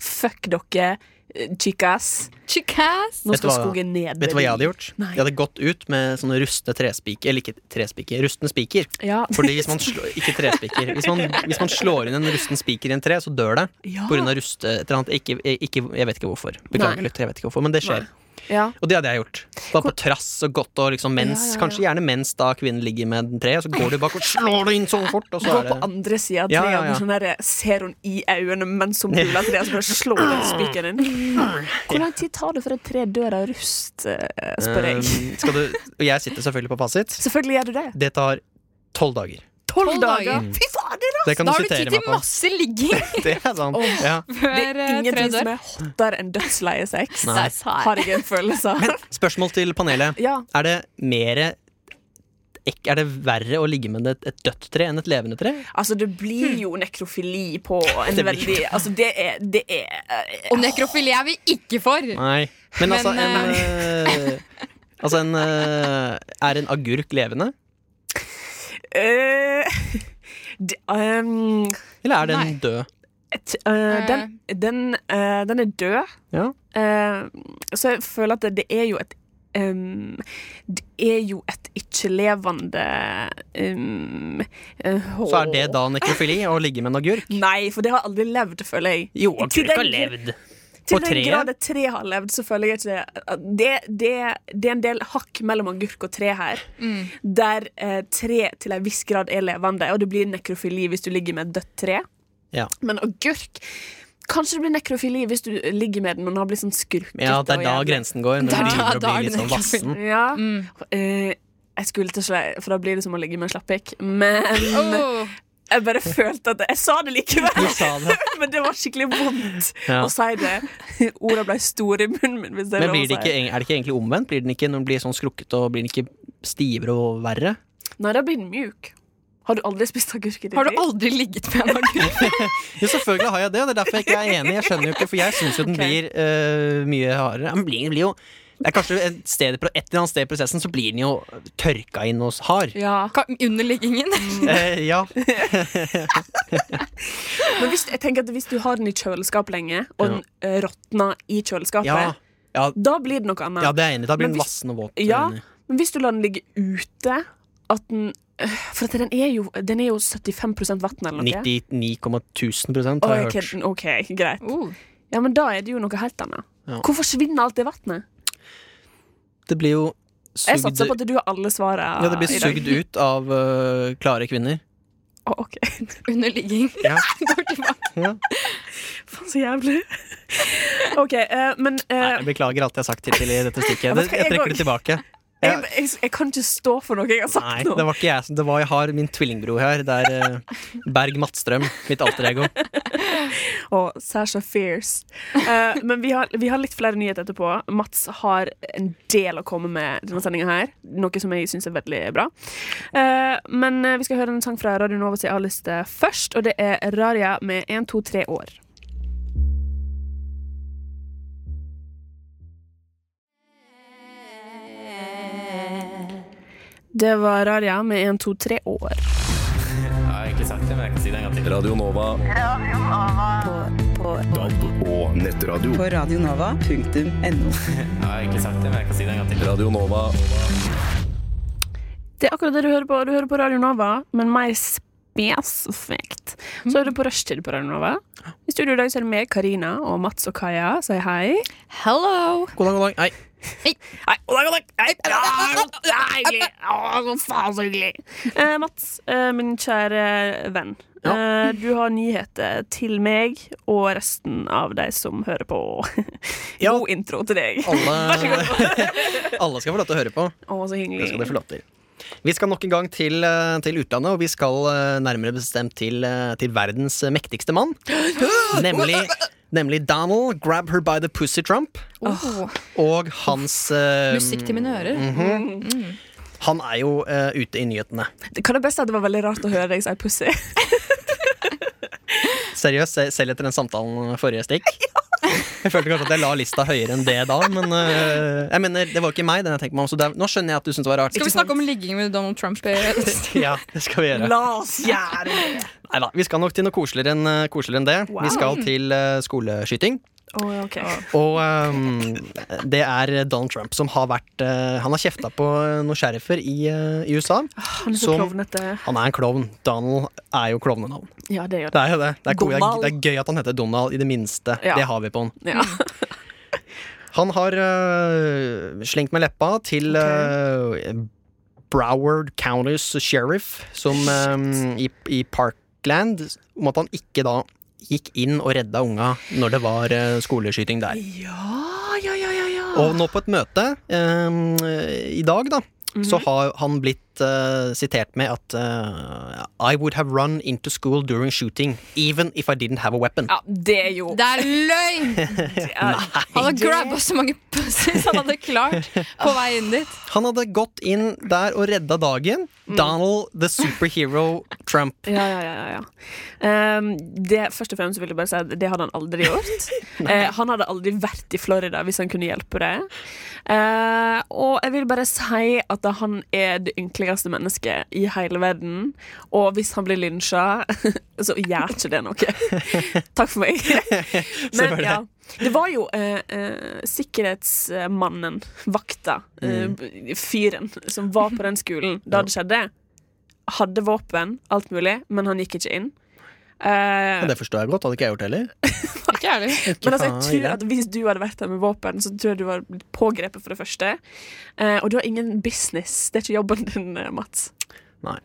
Fuck dere, eh, chicas. Chickass. Nå Vet du skal hva- skogen ned. Vet du hva jeg hadde gjort? Nei. Jeg hadde gått ut med sånne rustne trespiker Eller ikke trespiker, rustne spiker. Ja. Fordi hvis man slår, ikke trespiker hvis man, hvis man slår inn en rusten spiker i en tre, så dør det. Ja. På grunn av ruste et eller annet. Ikke, ikke, jeg vet ikke hvorfor. Nei. Beklager litt, jeg vet ikke hvorfor, men det skjer. ja. Og det hadde jeg gjort. Bare på trass og godt og liksom mens, Ja, ja, ja. kanskje gjerne mens da kvinnen ligger med en tre, så går du bak og slår det inn sånn fort, og så Gå er på det andre sida av Ja, treet ja, ja. med sånn der, ser hun i øynene mens hun puler treet, så bare slår hun spikeren inn. Hvor lang tid tar det før et tre dør av rust, eh, spør jeg. Um, skal du, og jeg sitter selvfølgelig på fasit. Selvfølgelig gjør du det. Det tar tolv dager. Tolv Tolv dager. Mm. dager! Fy fader, da! Det kan Da du har du tid sitere til meg på. masse ligging Det er sant. Ja. Det før er eh, tre ingenting som dør. er hottere enn dødsleie sex. Nei. Har jeg en følelse av. Spørsmål til panelet. Ja. Er det mere ek- Er det verre å ligge med et, et dødt tre enn et levende tre? Altså, det blir jo nekrofili på en Hmm. Det blir veldig Altså, det er, det er eh, Og nekrofili er vi ikke for. Nei. Men altså, Men, en eh, Altså en eh, Er en agurk levende? eh, det, um, Eller er den Nei. død? et, eh, den, den, eh, den er død. Ja. Eh, så jeg føler at det, det er jo et ehm, Det er jo et ikke-levende ehm, eh, Så er det da nekrofili å ligge med en agurk? Nei, for det har aldri levd, føler jeg. Jo, Til agurk har den- levd. Til På den treet? grad et tre har levd, så føler jeg ikke at det, det, det er en del hakk mellom agurk og tre her, Mm. der eh, tre til en viss grad er levende, og det blir nekrofili hvis du ligger med et dødt tre. Ja. Men agurk Kanskje det blir nekrofili hvis du ligger med den, men har blitt sånn skurkete. Ja, det er da og jævlig. grensen går. Når Det er du da- begynner å da er bli litt den sånn ikke vassen. Ja. Mm. Eh, jeg skulle til å slei, for da blir det som å ligge med en slappikk. Men Åh, jeg bare følte at Jeg sa det likevel, Du sa det. men det var skikkelig vondt Ja. å si det. Orda ble store i munnen min. Hvis det er Men lov blir å det si. ikke, er det ikke egentlig omvendt? Blir den ikke når den blir sånn skrukket og blir den ikke stivere og verre? Nei, da blir den mjuk. Har du aldri spist agurk i ditt har du liv? aldri ligget med en agurk? Jo, selvfølgelig har jeg det, og det er derfor jeg ikke er enig. Jeg skjønner jo ikke, For jeg syns jo den Ok. blir øh, mye hardere. Ja, Men blir, blir jo det er kanskje et, sted, i pro- et eller annet sted i prosessen så blir den jo tørka inn og hard. Ja. Ka- Under liggingen? Eh, ja. Men hvis, jeg tenker at hvis du har den i kjøleskap lenge, og den eh, råtner i kjøleskapet, Ja. Ja, da blir det noe annet. ja, det er jeg enig. i. Da blir Men den hvis- vassen og våt. eh, Ja, Jeg er enig. Men hvis du lar den ligge ute at den, øh, For at den er jo, den er jo 75 vann eller noe. 99,000 Å, har jeg jeg hørt. kødder. OK, greit. Oh. Ja, Men da er det jo noe helt annet. Ja. Hvor forsvinner alt det vannet? Det blir jo Jeg sugd, satser på at du har alle svarene. ja, det blir i dag. sugd ut av øh, klare kvinner. Å, OK. Under ligging. Ja. Går tilbake. Ja. Faen, så jævlig. OK, eh, men Nei, eh, jeg beklager alt jeg har sagt hittil i dette stykket. men Det, skal jeg jeg trekker gå- det tilbake. jeg, jeg, jeg kan ikke stå for noe jeg har sagt Nei, nå. det var ikke jeg som Det var jeg har min tvillingbror her. Det er eh, Berg Matstrøm, mitt alter ego. og Sasha Fierce. Eh, men vi har, vi har litt flere nyheter etterpå. Mats har en del å komme med denne sendinga her, noe som jeg syns er veldig bra. Eh, men eh, vi skal høre en sang fra Radio Nova sin A-liste først, og det er Raria med 1, 2, 3 år. Det var Raria med 1, 2, 3 år. Radio Nova. DAB og nettradio. på radionova.no. Radio Nova. Det er akkurat det du hører på. Du hører på Radio Nova, men mer spesifikt. Så er du på rushtid på Radio Nova. I studio i dag så er det meg, Karina, og Mats og Kaja sier hei. Hello! God dag, god dag. Nei, Hei, god dag, god dag! Hei, ja, det er hyggelig! Å, så faen så hyggelig! Eh, Mats, eh, min kjære venn. Eh, du har nyheter til meg og resten av de som hører på. Ja. God intro til deg. Å, alle, alle skal få lov til å høre på. så Det skal hyggelig. dere få lov til. Vi skal nok en gang til, eh, til utlandet, og vi skal eh, nærmere bestemt til, eh, til verdens eh, mektigste mann. Nemlig, nemlig Donald Grab Her By The Pussy Trump Åh, og hans eh, musikk til mine ører. Mm-hmm. Han er jo eh, ute i nyhetene. Kan det beste at det var veldig rart å høre deg si pussy? Seriøst, se- selv etter den samtalen forrige stikk. Jeg følte kanskje at jeg la lista høyere enn det da, men øh, jeg mener, det var ikke meg. Den jeg tenkte meg om, så det, er- nå skjønner jeg at du syntes det var rart. Skal vi snakke om ligging med Donald Trump? eh, Ja, det skal vi gjøre. La oss gjøre det! Neida, vi skal nok til noe koseligere enn eh, koseligere enn det. Wow. Vi skal til øh, skoleskyting. Å, ja, ok. Og øhm, det er Donald Trump som har vært øh, Han har kjefta på noen sheriffer i, øh, i USA. Han er så Som- klovnete. Han er en klovn. Donald er jo klovnenavn. Ja, det gjør Det er jo det. Det er, ko- det er, Donald. det er gøy at han heter Donald i det minste. Ja. Det har vi på han. Ja. Han har øh, slengt med leppa til øh, Broward County's sheriff som, øh, i, i Parkland om at han ikke da gikk inn og redda unga når det var øh, skoleskyting der. ja, ja, ja, ja, ja. Og nå på et møte øh, i dag, da, Mhm. så har han blitt øh, sitert med at øh, I would have run into school during shooting even if I didn't have a weapon. Ja, det er jo Det er løgn! Han hadde grabba så mange pussies han hadde klart på vei inn dit. Han hadde gått inn der og redda dagen. Donald the superhero Trump. Ja, ja, ja, ja, ja. Um, det, først og fremst vil jeg bare si at det hadde han aldri gjort. Eh, han hadde aldri vært i Florida hvis han kunne hjelpe det. Eh, og jeg vil bare si at han er det ynkeligste mennesket i hele verden. Og hvis han blir lynsja, så gjør ikke det noe. Takk for meg. Men Selvfølgelig. ja. Det var jo eh, eh, sikkerhetsmannen, vakta, eh, b- fyren, som var på den skolen da det skjedde hadde våpen, alt mulig, men han gikk ikke inn. Eh, Ja, det forstår jeg godt. Hadde ikke jeg gjort det heller. Ikke jeg heller. Ikke men altså, faen i jeg tror det. at Hvis du hadde vært der med våpen, så tror jeg du var blitt pågrepet. for det første eh, Og du har ingen business. Det er ikke jobben din, eh, Mats. Nei.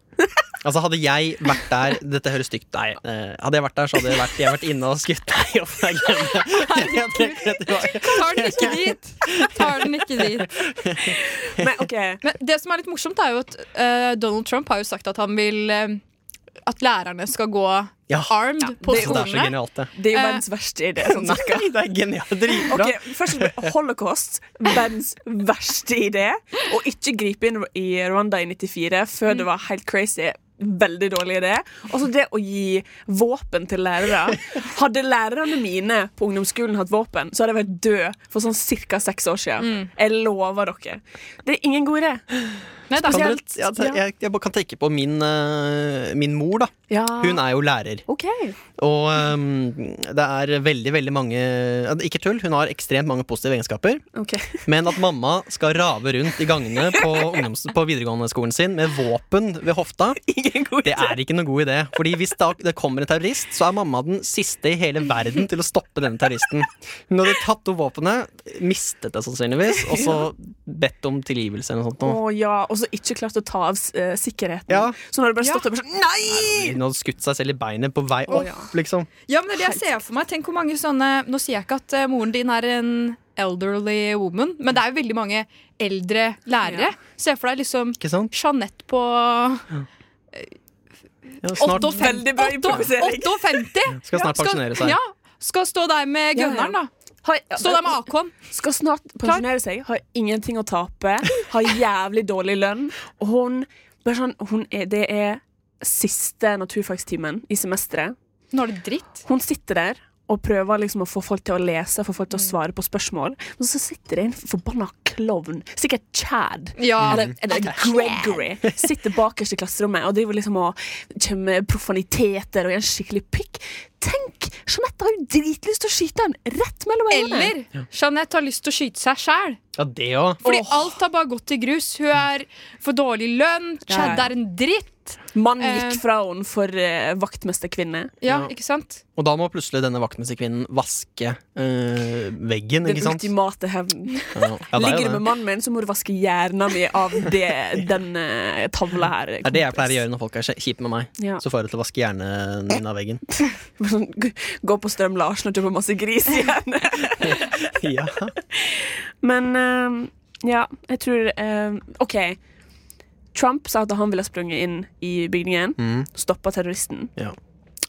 Altså Hadde jeg vært der Dette høres stygt Nei. eh, hadde jeg vært der, så hadde jeg vært, jeg vært inne og skutt deg i Altså, oppdraget. Tar den ikke dit! Tar den ikke dit. Men OK. Men det som er litt morsomt, er jo at eh, Donald Trump har jo sagt at han vil eh, At lærerne skal gå Ja. armed på Det er så skolene. genialt, det. Det er jo verdens verste idé. Sånn cirka. Nei, det er genialt. Dritbra. Ok, først Holocaust, verdens verste idé. Og ikke gripe inn i Rwanda i 94 før det var helt crazy. Veldig dårlig idé. Og så det å gi våpen til lærere. Hadde lærerne mine på ungdomsskolen hatt våpen, så hadde jeg vært død for sånn ca. seks år siden. Jeg lover dere. Det er ingen god idé. Nei, det er Kan dere, helt- jeg, jeg, jeg bare kan tenke på min, eh, min mor, da. Ja. Hun er jo lærer. OK. Og ehm, det er veldig, veldig mange Ikke tull, hun har ekstremt mange positive egenskaper. ok. Men at mamma skal rave rundt i gangene på, ungdoms, på videregående skolen sin med våpen ved hofta, det er ikke noen god idé. Fordi hvis da, det kommer en terrorist, så er mamma den siste i hele verden til å stoppe denne terroristen. Hun hadde tatt opp våpenet, mistet det sannsynligvis, og så bedt om tilgivelse eller noe sånt. Å Nå. ja, Og så ikke klart å ta av eh, sikkerheten. Ja. Så nå har du bare stått der og bare sånn Nei! Hun hadde skutt seg selv i beinet på vei Å, ja. opp, liksom. Ja, men det er det jeg ser for meg. Tenk hvor mange sånne Nå sier jeg ikke at eh, moren din er en elderly woman, men det er jo veldig mange eldre lærere. Ja. Se for deg liksom Ikke sant? Jeanette på Ja, snart 58 Veldig bra improvisering. 58. skal snart pensjonere seg. Ja, skal stå der med Ja, ja. gunneren, da. Har- Stå der med AK-en. Skal snart pensjonere seg, har ingenting å tape, har jævlig dårlig lønn. Og hun, bare sånn, hun er, Det er siste naturfagstimen i semesteret. Nå er det dritt. Hun sitter der og prøver liksom å få folk til å lese få folk til å svare på spørsmål. Men så sitter det en forbanna klovn, sikkert Chad. Mm. Ja. Eller, eller Gregory sitter bakerst i klasserommet og driver liksom og kommer med profaniteter og gjør en skikkelig pikk. Tenk! Jeanette har jo dritlyst til å skyte en rett mellom øynene. Eller Jeanette har lyst til å skyte seg sjæl. Ja, det òg. Fordi alt har bare gått i grus. Hun er for dårlig lønn. Ja, Chad ja. er en dritt. Mannen Eh. gikk fra henne for eh, vaktmesterkvinne. Ja, Ja. ikke sant? Og da må plutselig denne vaktmesterkvinnen vaske eh, veggen, Den ikke sant? ultimate hevnen. Ja, ja, det er Ligger du jo med det. mannen min, så må du vaske hjernen min av det, denne tavla her. Det er det jeg pleier å gjøre når folk er kjipe med meg. Ja. Så får jeg det til å vaske Eh. hjernen min av veggen. Sånn, g- Gå på Strøm Larsen og kjøpe masse gris igjen. Ja. Men eh, ja, jeg tror eh, OK. Trump sa at han ville sprunget inn i bygningen. Stoppa terroristen, Mm. Ja.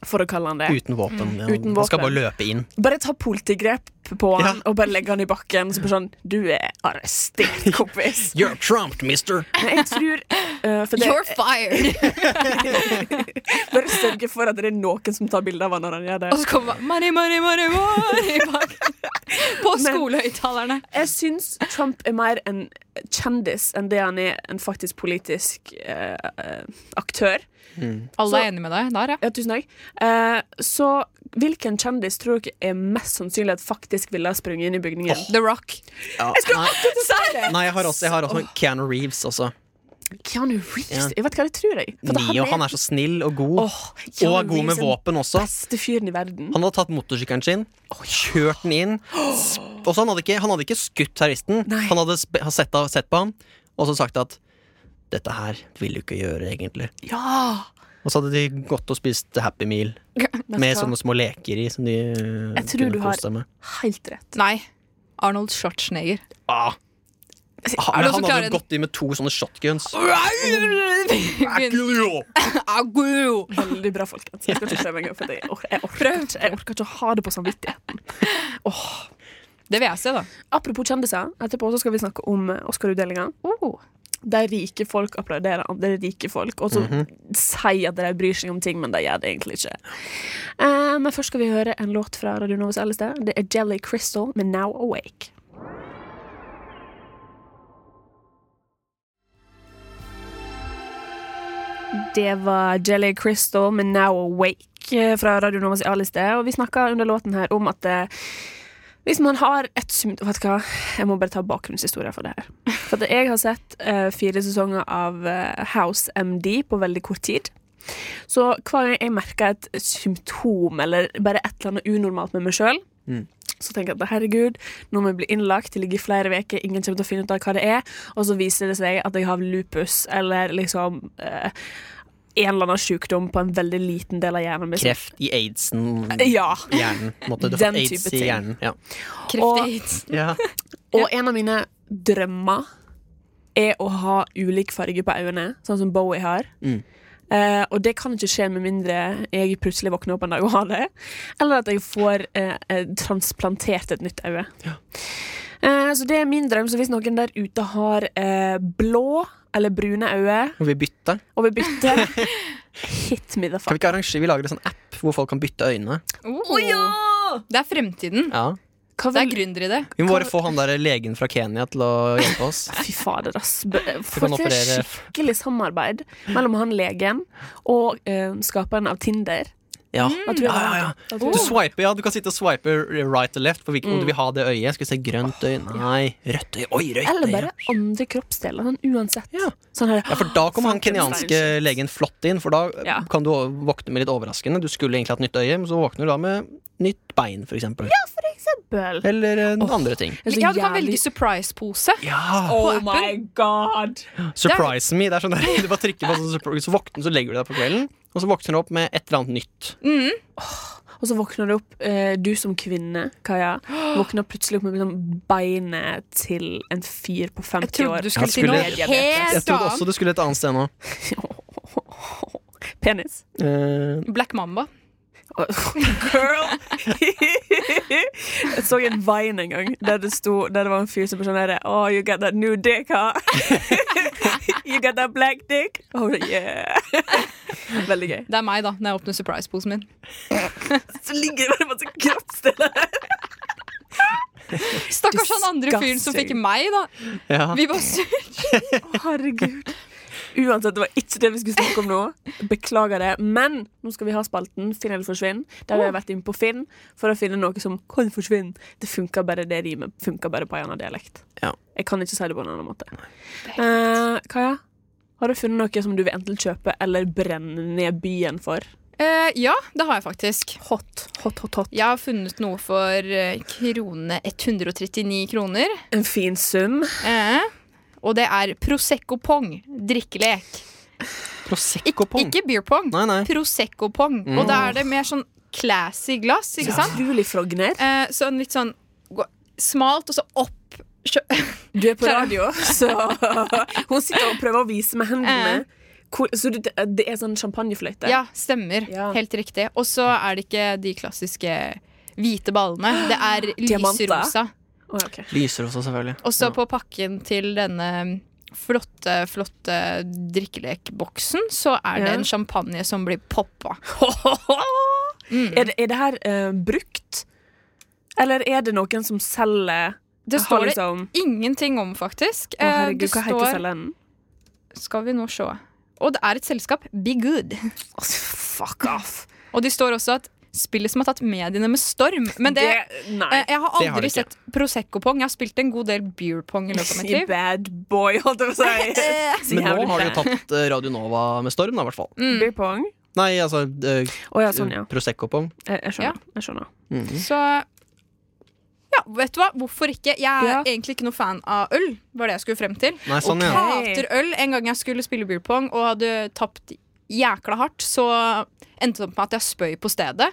for å kalle han det. Uten våpen. Ja. Uten Man skal våpen. bare løpe inn. Bare ta politigrep på Ja. han og bare legge han i bakken. Så bare sånn, Du er arrestert, kompis. You're trumped, mister! Men jeg tror eh, for det, You're fired! Bare sørge for at det er noen som tar bilde av han når han gjør det. Og så kommer bare money, money, money, money bak. På Men- skolehøyttalerne. Jeg syns Trump er mer en kjendis enn det han er en faktisk politisk eh, eh, aktør. Alle Så- er enige med deg der, ja. Ja, tusen takk. Eh, så hvilken kjendis tror dere er mest sannsynlig at faktisk ville ha sprunget inn i bygningen? The Rock. Ja. Nei, nei, jeg har også, jeg har også Keanu Reeves også. Keanu Ja. Reeves? Jeg vet hva jeg tror jeg. For Neo, han er så snill og god. Åh, Keanu og er god Reeves med er våpen også. beste fyren i verden. Han hadde tatt motorsykkelen sin, kjørt den inn Og så han hadde ikke, han hadde ikke skutt terroristen. Nei. Han hadde sp- ha sett, sett på ham og så sagt at dette her vil du ikke gjøre, egentlig. Ja! Og så hadde de gått og spist Happy Meal Vet med du hva? sånne små leker i som de øh, Jeg tror du kunne har- kose seg med. Helt rett. Nei. Arnold Schwarzenegger. Ah. Altså, Ah, men Er det noen som han hadde klarer jo den? gått i med to sånne shotguns. Begynn- Altså, Agu. Veldig bra, folkens. Jeg skal ikke prøve engang, for jeg orker, jeg, orker ikke, jeg orker ikke å ha det på samvittigheten. Det vil jeg se, da. Apropos kjendiser, etterpå så skal vi snakke om eh, Oscar-utdelinga. Der rike folk applauderer andre rike folk, og så sier at de bryr seg om ting, men de gjør det egentlig ikke. Eh, men først skal vi høre en låt fra Radio Novas eldste. Det er Jelly Crystal med Now Awake. Det var Jelly Crystal med Now Awake eh, fra Radio Novas A-liste. Og vi snakka under låten her om at eh, hvis man har et symptom Vet du hva, jeg må bare ta bakgrunnshistoria for det her. For at jeg har sett eh, fire sesonger av eh, House MD på veldig kort tid. Så hver gang jeg merker et symptom eller bare et eller annet unormalt med meg sjøl, så tenker jeg at herregud, nå må jeg bli innlagt, jeg ligger i flere uker, ingen kommer til å finne ut av hva det er, og så viser det seg at jeg har lupus eller liksom eh, en eller annen sykdom på en veldig liten del av hjernen. liksom. Kreft i aidsen. Ja. Hjernen. på en måte. Du Den får aids type i ting. hjernen. Ja. Kreftig Og- hits. Ja. Og en av mine drømmer er å ha ulik farge på øynene, sånn som Bowie har. Mm. Eh, og det kan ikke skje med mindre jeg plutselig våkner opp en dag og har det. Eller at jeg får eh, eh, transplantert et nytt øye. Eh, så det er min drøm. Så hvis noen der ute har eh, blå eller brune øyne Må vi bytte? og vil bytte, hit me the Kan fuck. vi ikke arrangere Vi lager en sånn app hvor folk kan bytte øyne. Oh. Det er fremtiden. Ja. Hva Det er vil- gründer i det. Vi må bare få han der legen fra Kenya til å hjelpe oss. Fy fader, ass. B- Få kan til operere. skikkelig samarbeid mellom han legen og eh, skaperen av Tinder. Ja. Da tror jeg det Ja, var ja, ja. det. Da tror jeg Du det var det. swiper, ja, du kan sitte og swipe right og left på hvilken Mm. om du vil ha det øyet. Skal vi se grønt øye? Nei, rødt øye. Oi, rødt Eller øye. bare andre kroppsdeler, sånn uansett. Ja. Sånn her, Ja, for da kom han Sånn kenyanske Frankenstein-shit. legen flott inn, for da Ja. kan du våkne med litt overraskende. Du skulle egentlig hatt nytt øye, men så våkner du da med nytt bein, for eksempel. Bøl. Eller eh, andre ting. Det er så Ja, du kan jævlig- velge surprise-pose. Ja! Oh på my god! Surprise me. Det er sånn der, du bare trykker på sånn surprise, så våkner så legger du deg på kvelden, og så våkner du opp med et eller annet nytt. Og så våkner du opp, eh, du som kvinne, Kaja, våkner plutselig opp med liksom beinet til en fyr på 50 Jeg trodde år. du skulle si skulle- noe Jeg helt Jeg annet. trodde også du skulle et annet sted nå. Penis. Eh, Black Mamba. Girl! jeg så en Vine en gang der det, sto, der det var en fyr som var sånn herre Oh, you got that new dick, huh? you got that black dick? Oh, yeah. Veldig gøy. Det er meg, da, når jeg åpner surprise-posen min. Så ligger det bare masse kroppsdeler her. Stakkars han andre fyren som fikk Disgusting. meg, da. ja. Vi bare sur. Herregud. Uansett, det var ikke det vi skulle snakke om nå. Beklager det. Men nå skal vi ha spalten Finn eller forsvinn, der vi har vært inne på Finn for å finne noe som kan forsvinne. Det funker bare det rimet funker bare på en annen dialekt. Ja. Jeg kan ikke si det på en annen måte. Eh, Kaja, har du funnet noe som du vil enten kjøpe eller brenne ned byen for? Eh, ja, det har jeg faktisk. Hot, hot, hot, hot. Jeg har funnet noe for eh, krone 139 kroner. En fin sum. Eh, og det er Prosecco Pong. Drikkelek. Prosecco-pong. Ikke beer pong. Nei, Mm. nei. Prosecco Pong. Og da er det mer sånn classy glass, ikke sant? Utrolig Frogner. Eh, sånn litt sånn gå- smalt, og så opp kjø- Du er på Klara. radio, så Hun sitter og prøver å vise med hendene. Eh. Hvor, så det, det er sånn champagnefløyte? Ja, stemmer. Ja. Helt riktig. Og så er det ikke de klassiske hvite ballene. Det er Diamanter. lyserosa. Å, ok. Lyser også, selvfølgelig. Og så Ja. på pakken til denne flotte, flotte drikkelekboksen, så er det Ja. en champagne som blir poppa. Er, det, er det her eh, brukt? Eller er det noen som selger Det har står det liksom, ingenting om, faktisk. Å, Eh, herregud, det hva heter selgeren? Skal vi nå se. Og det er et selskap, Be Good. Å, fuck off! Og de står også at spillet som har tatt mediene med storm. Men det, Nei. eh, jeg Det har har det aldri ikke. sett Prosecco-pong. Jeg har spilt en god del beer pong i løpet av mitt Si liv. bad boy, holdt jeg på å si. Si Men nå jævlig har du bad. tatt eh, Radio Nova med storm, da, i hvert fall. Mm. Beer pong? Nei, altså eh, Å ja, sånn, ja. Prosecco-pong. Jeg, jeg skjønner. Jeg skjønner. Så ja, vet du hva? Hvorfor ikke? Jeg er Ja. egentlig ikke noe fan av øl, var det jeg skulle frem til. Nei, sånn, ja. Hater øl. En gang jeg skulle spille beer pong og hadde tapt jækla hardt, så endte det opp med at jeg spøy på stedet.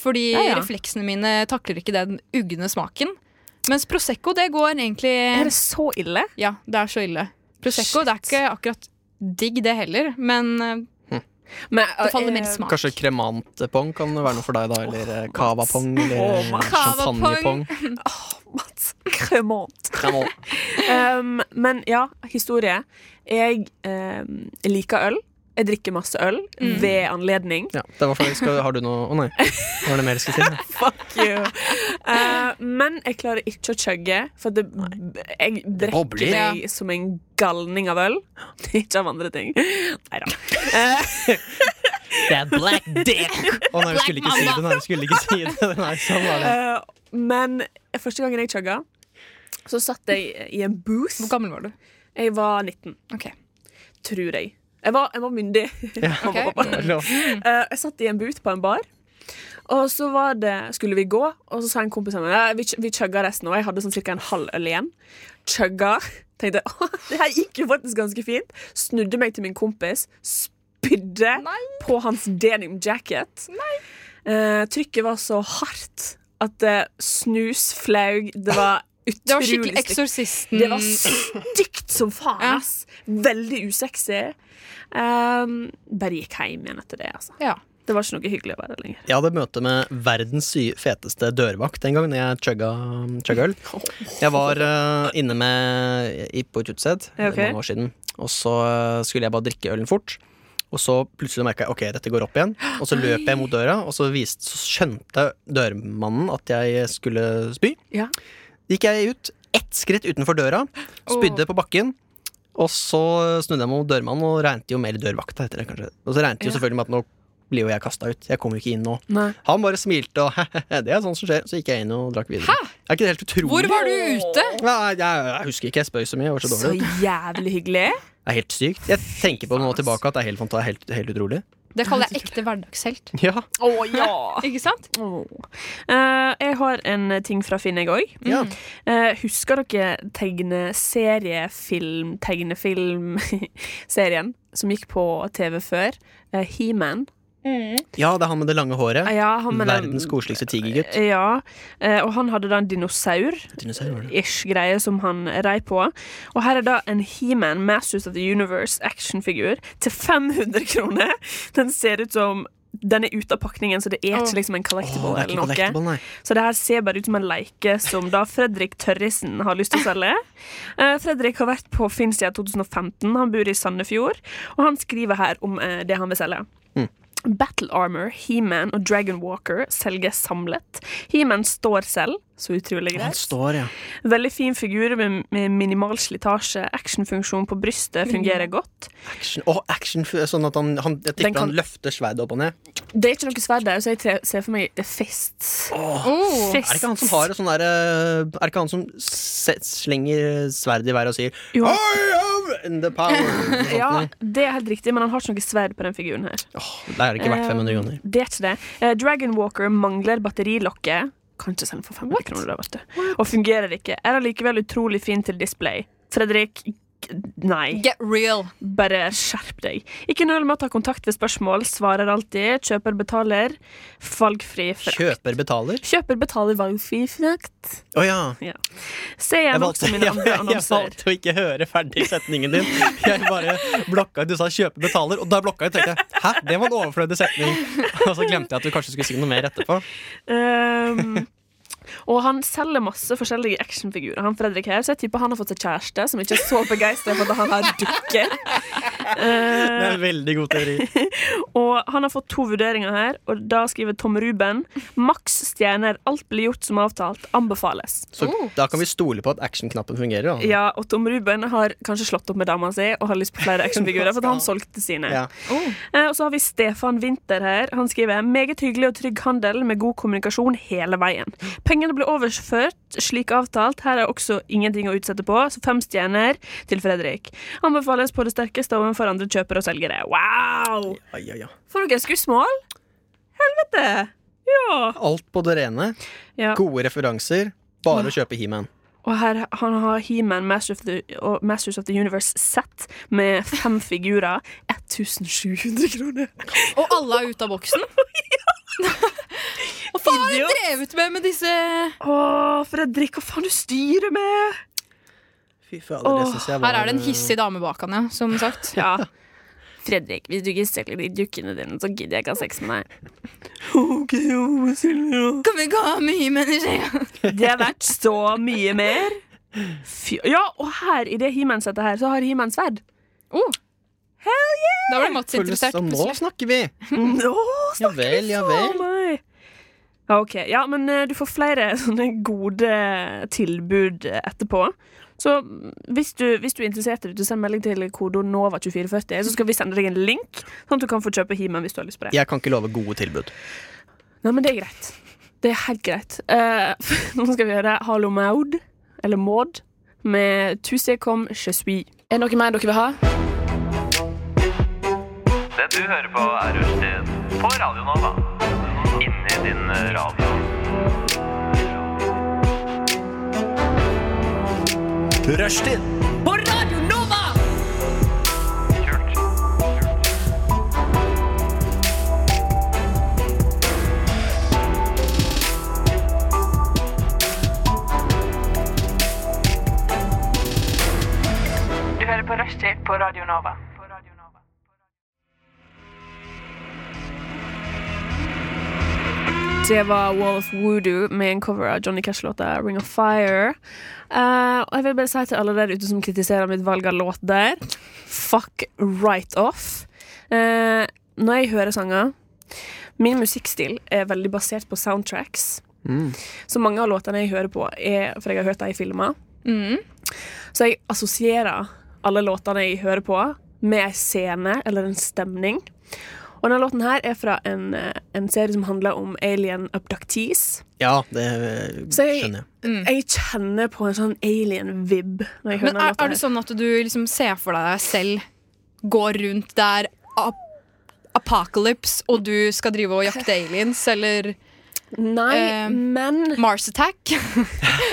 Fordi Ja, ja. refleksene mine takler ikke den ugne smaken. Mens Prosecco, det går egentlig Er det så ille? Ja, det er så ille. Prosecco det er ikke akkurat digg, det heller, men eh, Men, det faller eh, mer i smak. Kanskje cremante-pong kan være noe for deg, da. Eller eh, cava-pong. Åh, Eller eh, Mats. champagne-pong. Mats, kremant. Cremant. Um, men ja, historie. Jeg um, liker øl. Jeg drikker masse øl ved anledning. Ja, det var for, skal, Har du noe Å nei. Var det mer jeg skulle si? Fuck you! Uh, men jeg klarer ikke å chugge, for det, jeg drikker bobler. meg som en galning av øl. ikke av andre ting. Nei da. Det er black dick! Å nei, vi skulle ikke si det. Nei, vi skulle ikke si det. Nei, sånn var det. Eh, Men første gangen jeg chugga, så satt jeg i en booth. Hvor gammel var du? Jeg var 19, Ok. tror jeg. Jeg var, jeg var myndig. Ok. Det er lov. Eh, jeg satt i en boot på en bar, og så var det, skulle vi gå, og så sa en kompis av meg «Ja, vi, ch- vi chugga resten, og jeg hadde sånn cirka en halv øl igjen. Chugga. Tenkte «Å, det her gikk jo faktisk ganske fint. Snudde meg til min kompis, spydde Nei. på hans denim jacket. Eh, trykket var så hardt at eh, snus flaug. Det var Det var utrolig skikkelig stygt. Eksorsisten. Det var stygt som faen, Ja. ass. Veldig usexy. Ehm, bare gikk hjem igjen etter det, altså. ja. Det var ikke noe hyggelig å være der lenger. Jeg hadde møte med verdens sy- feteste dørvakt den gangen jeg chugga um, chugga øl. Jeg var eh, inne med i- på et utested Ja, for ok. mange år siden, og så eh, skulle jeg bare drikke ølen fort. Og så plutselig merka jeg ok, dette går opp igjen, og så løp jeg mot døra, og så, viste, så skjønte dørmannen at jeg skulle spy. Ja. Gikk jeg ut ett skritt utenfor døra, spydde på bakken. Og så snudde jeg meg mot dørmannen og regnet jo med eller dørvakta etter det, kanskje. Og så regnet jo Ja. selvfølgelig med at nå blir jo jeg kasta ut. Jeg kommer jo ikke inn nå. Nei. Han bare smilte og det er sånn som skjer. Så gikk jeg inn og drakk videre. Er ikke det helt utrolig? Hvor var du ute? Nei, jeg, jeg husker ikke, jeg spøy så mye. Jeg var så Så dårlig. jævlig hyggelig. Det er helt sykt. Jeg tenker på det nå tilbake at det er helt, fanta- helt, helt utrolig. Det kaller jeg ekte hverdagshelt. Ja. Å ja! Ikke sant? Eh, jeg har en ting fra Finn, jeg òg. ja. Eh, husker dere tegneseriefilm Tegnefilm-serien som gikk på TV før? Eh, He-Man. Ja, det er han med det lange håret. Ja, um, han med den- Verdens koseligste tigergutt. Ja, eh, og han hadde da en dinosaur-ish Dinosaur, var det. greie som han rei på. Og her er da en He-Man Masters of the Universe actionfigur til 500 kroner. Den ser ut som den er ute av pakningen, så det er ikke liksom en collectible. Åh, det er ikke eller noe. collectible, nei. Så det her ser bare ut som en leike som da Fredrik Tørrisen har lyst til å selge. Eh, Fredrik har vært på Finn siden 2015. Han bor i Sandefjord, og han skriver her om eh, det han vil selge. Mm. Battle Armor, He-Man og Dragon Walker selges samlet. He-Man står selv, så utrolig Han greit. står, ja. Veldig fin figur med, med minimal slitasje. Actionfunksjon på brystet fungerer godt. Action, Åh, action sånn at han, han, jeg Den tipper kan- han løfter sverdet opp og ned. Det er ikke noe sverd der, så jeg tre- ser for meg det er fists. Oh. Fists. Er det ikke han som har sånn der eh, Er det ikke han som se, slenger sverdet i været og sier Jo. I am in the power? Sånt Ja, noe. det er helt riktig, men han har ikke noe sverd på den figuren her. Åh, det er ikke Eh, verdt 500 kroner. Det er ikke det. Eh, Dragon Walker mangler batterilokket. Kan ikke selge for 500 kroner, da, vet du. Og fungerer ikke. Er allikevel utrolig fin til display. Fredrik, g- nei. Get real. Bare skjerp deg. Ikke nøl med å ta kontakt ved spørsmål. Svarer alltid. Kjøper betaler. Valgfri frakt. Kjøper betaler? Kjøper betaler valgfri frakt. Å ja. Se Jeg igjen valgte, også mine jeg, andre jeg annonser. valgte å ikke høre ferdig setningen din. Jeg bare blokka ut. Du sa 'kjøpe betaler', og da blokka jeg. tenkte jeg, Hæ, det var en overflødig setning. Og så glemte jeg at du kanskje skulle si noe mer Eh. etterpå. Um, og han selger masse forskjellige actionfigurer. Han Fredrik her, Så jeg tipper han har fått seg kjæreste som ikke er så begeistra for at han har dukker. Det er en veldig god teori. Og han har fått to vurderinger her, og da skriver Tom Ruben Maks stjerner, alt blir gjort som avtalt, anbefales. Så da kan vi stole på at actionknappen fungerer. Da. Oh. Ja, og Tom Ruben har kanskje slått opp med dama si og har lyst på flere actionfigurer, for at han solgte sine. Ja. Eh, Og så har vi Stefan Winther her. Han skriver meget hyggelig og trygg handel med god kommunikasjon hele veien. Pengene ble overført slik avtalt. Her er også ingenting å utsette på, så fem stjerner til Fredrik. Anbefales på det sterkeste overfor andre kjøpere og selgere. Wow! Ja, ja, ja. For noen skussmål! Helvete! Ja. Alt på det rene. ja. Gode referanser. Bare å kjøpe He-Man. Og her han har He-Man Master of the- og Masters of the Universe-sett med fem figurer. 1700 kroner! Og alle er ute av boksen. Og faen har du drevet med med disse Å, Fredrik, hva faen du styrer med? Fy fader, det Åh, synes jeg var Her er det en hissig dame bak han, ja, som sagt. Ja. Fredrik, hvis du ikke selger de dukkene dine, så gidder jeg ikke ha sex med deg. Ok, jo, Silja. Kan vi ikke ha mye mennesker? Det er verdt så mye mer. Fy ja, og her i det He-Man-settet her, så har He-Man sverd. Oh. Da ble Mats Føles interessert. som nå plutselig. snakker vi! Nå Ja snakker vel, ja Å vel. nei. Ja, ok. Ja, men eh, du får flere sånne gode tilbud eh, etterpå. Så mm, hvis du, hvis du er interessert i det, send melding til kodeord NOVA2440, så skal vi sende deg en link, sånn at du kan få kjøpe He-Man hvis du har lyst på det. Jeg kan ikke love gode tilbud. Nei, men det er greit. Det er helt greit. Eh, nå skal vi høre Hallo Maud, eller Maud, med Tu sais comme je suis. Er det noe mer dere vil ha? Det du hører på er Rushtid på Radio Nova. Inni din eh, radio. Rushtid! Kult. Det var Wall of Voodoo med en cover av Johnny Cash-låta Ring of Fire. Eh, og jeg vil bare si til alle der ute som kritiserer mitt valg av låt der, fuck right off. Eh, når jeg hører sanger Min musikkstil er veldig basert på soundtracks. Så mange av låtene jeg hører på, er For jeg har hørt dem i filmer. Så jeg assosierer alle låtene jeg hører på, med en scene eller en stemning. Og denne låten her er fra en, eh, en serie som handler om alien abductees. Ja, det eh, Så jeg- skjønner jeg. Jeg kjenner på en sånn alien-vib når jeg hører Mm. Men denne er, låta. er det her. sånn at du liksom ser for deg selv går rundt der ap apocalypse, og du skal drive og jakte aliens, eller Nei, Eh, men Mars Attack?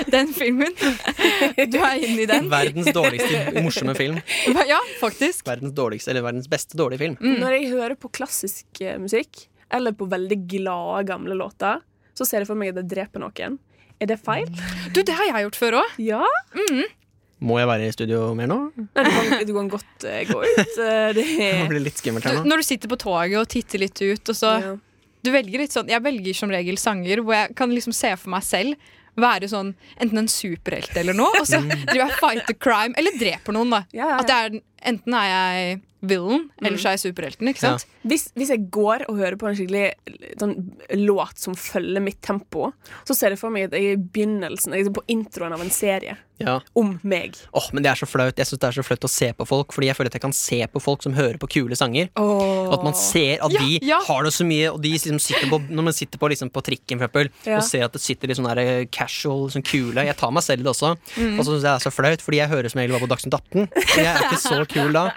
Den filmen. Du er inne i den. Verdens dårligste morsomme film. Ja, faktisk. Verdens dårligste, eller verdens beste dårlige film. mm. Når jeg hører på klassisk eh, musikk, eller på veldig glade, gamle låter, så ser jeg for meg at jeg dreper noen. Er det feil? Du, det har jeg gjort før òg. Ja? Må jeg være i studio mer nå? Nei, du kan, du kan godt eh, gå ut. Eh, Det Det er blir litt skummelt her nå. Når du sitter på toget og titter litt ut, og så ja. Du velger litt sånn Jeg velger som regel sanger hvor jeg kan liksom se for meg selv være sånn enten en superhelt eller noe, og så Mm. driver jeg og fighter crime, eller dreper noen, da. Ja, Mm. ja, At jeg er, enten er jeg villain, eller så er jeg superhelten, ikke sant? Hvis, hvis jeg går og hører på en skikkelig sånn, låt som følger mitt tempo, så ser jeg for meg at jeg er i begynnelsen, jeg er på introen av en serie Ja. om meg. Åh, men det er så flaut. Jeg synes det er så flaut å se på folk, fordi jeg føler at jeg kan se på folk som hører på kule sanger. At man ser at Ja, de ja. har det så mye, og de liksom sitter på, når man sitter på, liksom på trikken for eksempel, Ja. og ser at det sitter litt sånn der eh, casual, sånn kule Jeg tar meg selv i det også, Mm. og så syns jeg det er så flaut, fordi jeg hører som regel bare på Dagsnytt 18. Og jeg er ikke så kul da.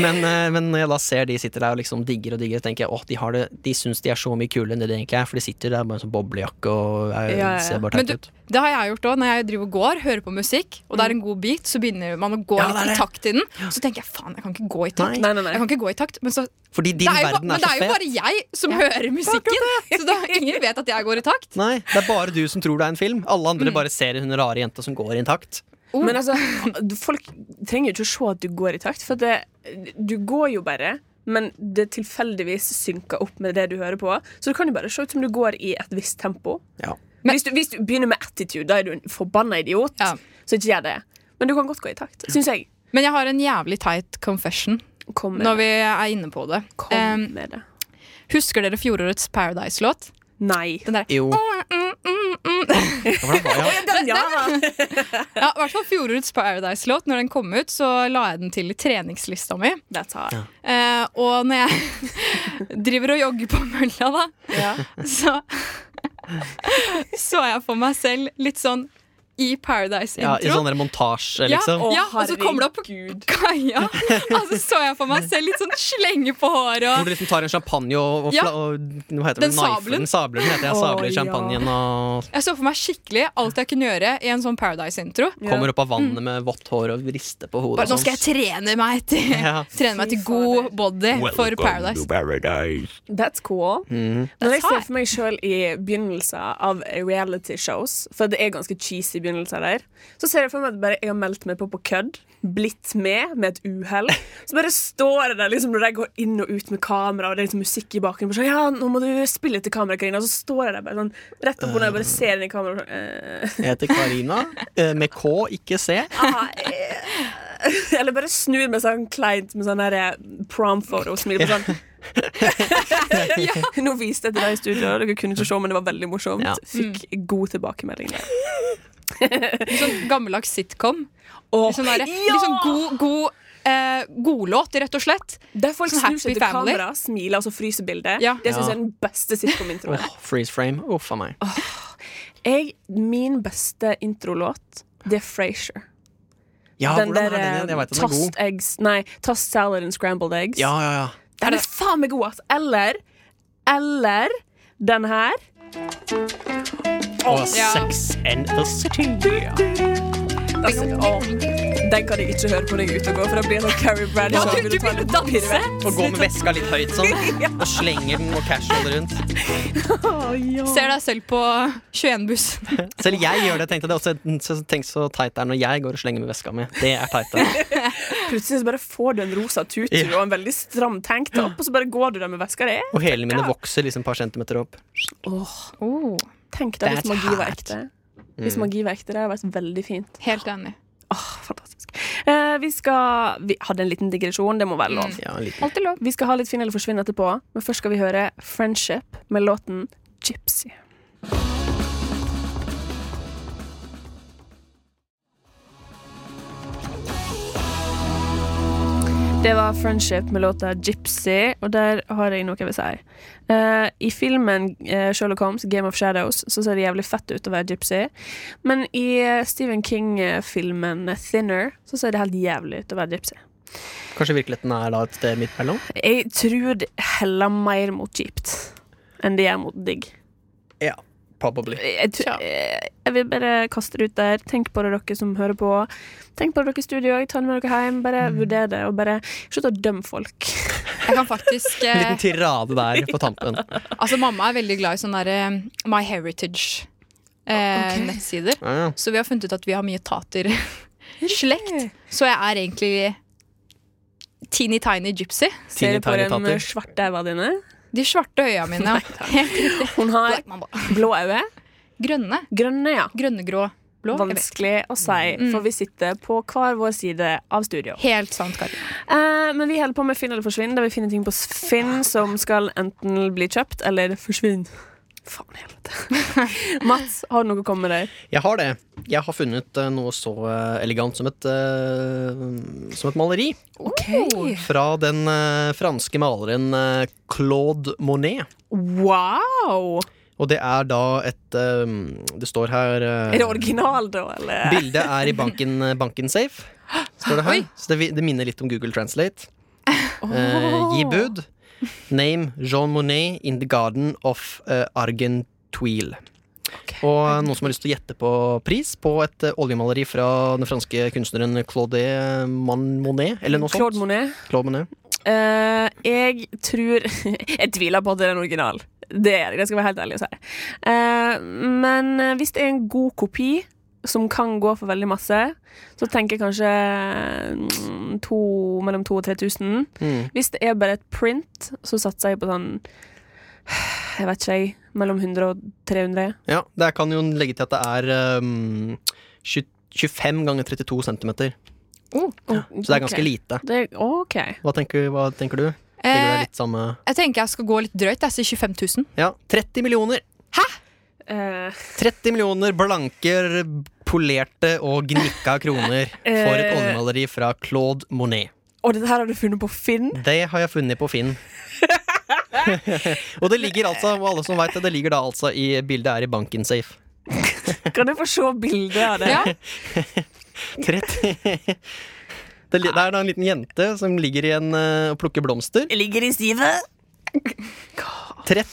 Men, eh, men når jeg da ser de sitter der og liksom digger og digger, så tenker jeg åh, de, har det- de syns de er så mye kulere enn det de egentlig er, for de sitter der med en sånn boblejakke og er, Ja, ja, ja. ser bare Men teit du, ut. det har jeg gjort òg. Når jeg driver og går, hører på musikk, Mm. og det er en god beat, så begynner man å gå Ja, det er litt i det. takt til den. Så tenker jeg faen, jeg kan ikke gå i takt. Nei, nei, nei. Jeg kan ikke gå i takt Men, så, det, Fordi din er jo, ba- verden men er det så er jo fet. bare jeg som hører musikken, så da, ingen vet at jeg går i takt. Nei, det er bare du som tror det er en film. Alle andre Mm. bare ser hun rare jenta som går intakt. Oh. Men altså, du- folk trenger jo ikke å se at du går i takt, for det, du går jo bare. Men det tilfeldigvis synker opp med det du hører på. Så du kan jo bare se ut som du går i et visst tempo. Ja. Men- hvis, du, hvis du begynner med attitude, da er du en forbanna idiot. Ja. Så ikke gjør det. Men du kan godt gå i takt, syns jeg. Men jeg har en jævlig teit confession Kom med når det. vi er inne på det. Kom Em, med det. husker dere fjorårets Paradise-låt? Nei. Den der Jo. mm, Hvordan var det? Ja, i hvert fall fjorårets Paradise-låt. Når den kom ut, så la jeg den til i treningslista mi. That's hard. Eh, og når jeg driver og jogger på mølla, da, så så jeg for meg selv litt sånn Ja, i I Paradise-intro. sånn der montasje, Ja, liksom. ja, og så kommer det opp Kaja. Altså så jeg for meg selv litt sånn slenge på håret Hvor og du liksom tar en champagne og, og, Ja. fla- og Hva heter det? Den Knife- sablen. Den sablen heter jeg. Sabler Å, ja. champagnen og Jeg så for meg skikkelig alt jeg kunne gjøre i en sånn Paradise-intro. kommer opp av vannet med vått hår og sånn. rister på hodet. Mm. Bare nå skal jeg trene meg til, Ja. trene meg til god body for Paradise. Paradise. That's cool. Når jeg That's ser hot. for meg sjøl i begynnelser av reality shows, for det er ganske cheesy begynnelser der, så ser jeg for meg at bare jeg har meldt meg på på kødd, blitt med med et uhell. Så bare står jeg der liksom, når jeg går inn og ut med kamera, og det er liksom musikk i bakgrunnen. Bare sånn, ja, nå må du spille til kamera, Karina. Og så står jeg der bare sånn, rett opp og ned og bare ser inn i kameraet og sånn eh, Jeg heter Karina, eh, med K, ikke C. Eller bare snur meg sånn kleint med sånn der, eh, prom-foto og smiler på sånn. Nå viste jeg til deg i studio, og dere kunne ikke se, men det var veldig morsomt. Ja. Fikk god tilbakemelding der. Sånn gammeldags sitcom. Åh, Litt sånn derre- ja! litt sånn god, god, eh, godlåt, rett og slett. Der folk snur sånn seg Happy til Family. kamera, smiler og så fryser bildet. Ja. Det syns Ja. jeg er den beste sitcom-introen. Åh, freeze frame. Uff a meg. Jeg- Min beste introlåt, det er Frasier. Ja, den hvordan der er den igjen? Jeg vet at eh, den er tossed god. eggs Nei, tossed salad and scrambled eggs. Ja, ja, ja. Den er faen meg god, ass. Eller Eller den her. Og Ja. Sex and the City. Altså, åh, den kan jeg ikke høre på når jeg er ute og går, for da blir jeg sånn Carrie Bradshaw. Ja, du- Vil du ta begynner litt å danse? piruett? Og gå med veska litt høyt sånn, og slenger den og casual rundt. Ser deg selv på 21-bussen. Selv jeg gjør det, tenkte jeg. det er også. Så tenk så teit det er når jeg går og slenger med veska mi. Det er teit. det. Plutselig så bare får du en rosa tutu Ja. og en veldig stram tanktopp, og så bare går du der med veska di. Og hælene mine vokser liksom et par centimeter opp. Åh, Oh, Tenk deg hvis That's magi var hot. ekte. Hvis magi var ekte, det hadde vært veldig fint. helt enig. Åh, fantastisk. Eh, vi skal Vi hadde en liten digresjon, det må være lov. Ja, en liten. Alltid lov. Vi skal ha litt Finn eller forsvinn etterpå, men først skal vi høre Friendship med låten Gypsy. Det var Friendship med låta Gypsy, og der har jeg noe jeg vil si. Eh, I filmen eh, Sherlock Holmes, Game of Shadows, så ser det jævlig fett ut å være gypsy. Men i eh, Stephen King-filmen Thinner, så ser det helt jævlig ut å være gypsy. Kanskje virkeligheten er da et sted midt mellom? Jeg tror det heller mer mot kjipt enn det gjør mot digg. Ja, probably. Jeg, tror- eh, jeg vil bare kaste det ut der. Tenk på det, dere som hører på. Tenk på det, dere i studio òg. Ta det med dere hjem. Bare Mm. vurder det, og bare slutt å dømme folk. Jeg kan faktisk En eh, liten tirade der på tampen. Altså, mamma er veldig glad i sånne der, eh, My Heritage-nettsider. Ja, ja. Så vi har funnet ut at vi har mye tater-slekt. Så jeg er egentlig teeny tiny gypsy. Ser Teeny du på tiny de tatter. svarte øynene dine? De svarte øya mine. Helt riktig. Hun har Black mamba. blå øyne. Grønne. Grønne, ja. Grønnegrå. Blå. jeg vet. Mm. Vanskelig å si, for vi sitter på hver vår side av studio. Helt sant, Kari. Eh, men vi holder på med Finn eller forsvinn, der vi finner ting på Finn som skal enten bli kjøpt eller forsvinne. Faen i helvete. Mats, har du noe å komme med der? Jeg har det. Jeg har funnet eh, noe så eh, elegant som et, eh, som et maleri. Fra den eh, franske maleren eh, Claude Monet. Wow! Og det er da et eh, Det står her eh, Er det original, da, eller? Bildet er i banken, banken safe, står det her. Så det, vi- det minner litt om Google Translate. Eh, gi bud. Name Jean Monnet in the garden of eh, Argentuil. Og noen som har lyst til å gjette på pris på et eh, oljemaleri fra den franske kunstneren Claude Man Monet? Eller noe Claude sånt. Monet. Claude Monet. Eh, jeg tror Jeg tviler på at det er en original. Det er det, det skal jeg være helt ærlig og si. Eh, men eh, hvis det er en god kopi som kan gå for veldig masse, så tenker jeg kanskje mm, to, mellom 2000 og 3000. Mm. Hvis det er bare et print, så satser jeg på sånn Jeg vet ikke, jeg. Mellom 100 og 300. Ja, det kan jo legge til at det er um, 20 25 ganger 32 centimeter. Så det er ganske lite. Det er, OK. Hva tenker, hva tenker du? Ligger det Eh, litt samme jeg tenker jeg skal gå litt drøyt. Jeg sier 25 000. Ja, 30 millioner! Eh, 30 millioner blanke, polerte og gnikka kroner for et Eh. oljemaleri fra Claude Monet. og dette her har du funnet på Finn? Det har jeg funnet på Finn. og det ligger altså, og alle som vet det, det ligger da altså i bildet er i banken safe. Kan jeg få se bildet av det? Ja, 30. Det, li- det er da en liten jente som ligger i en eh, og plukker blomster. Jeg ligger i stivet. 30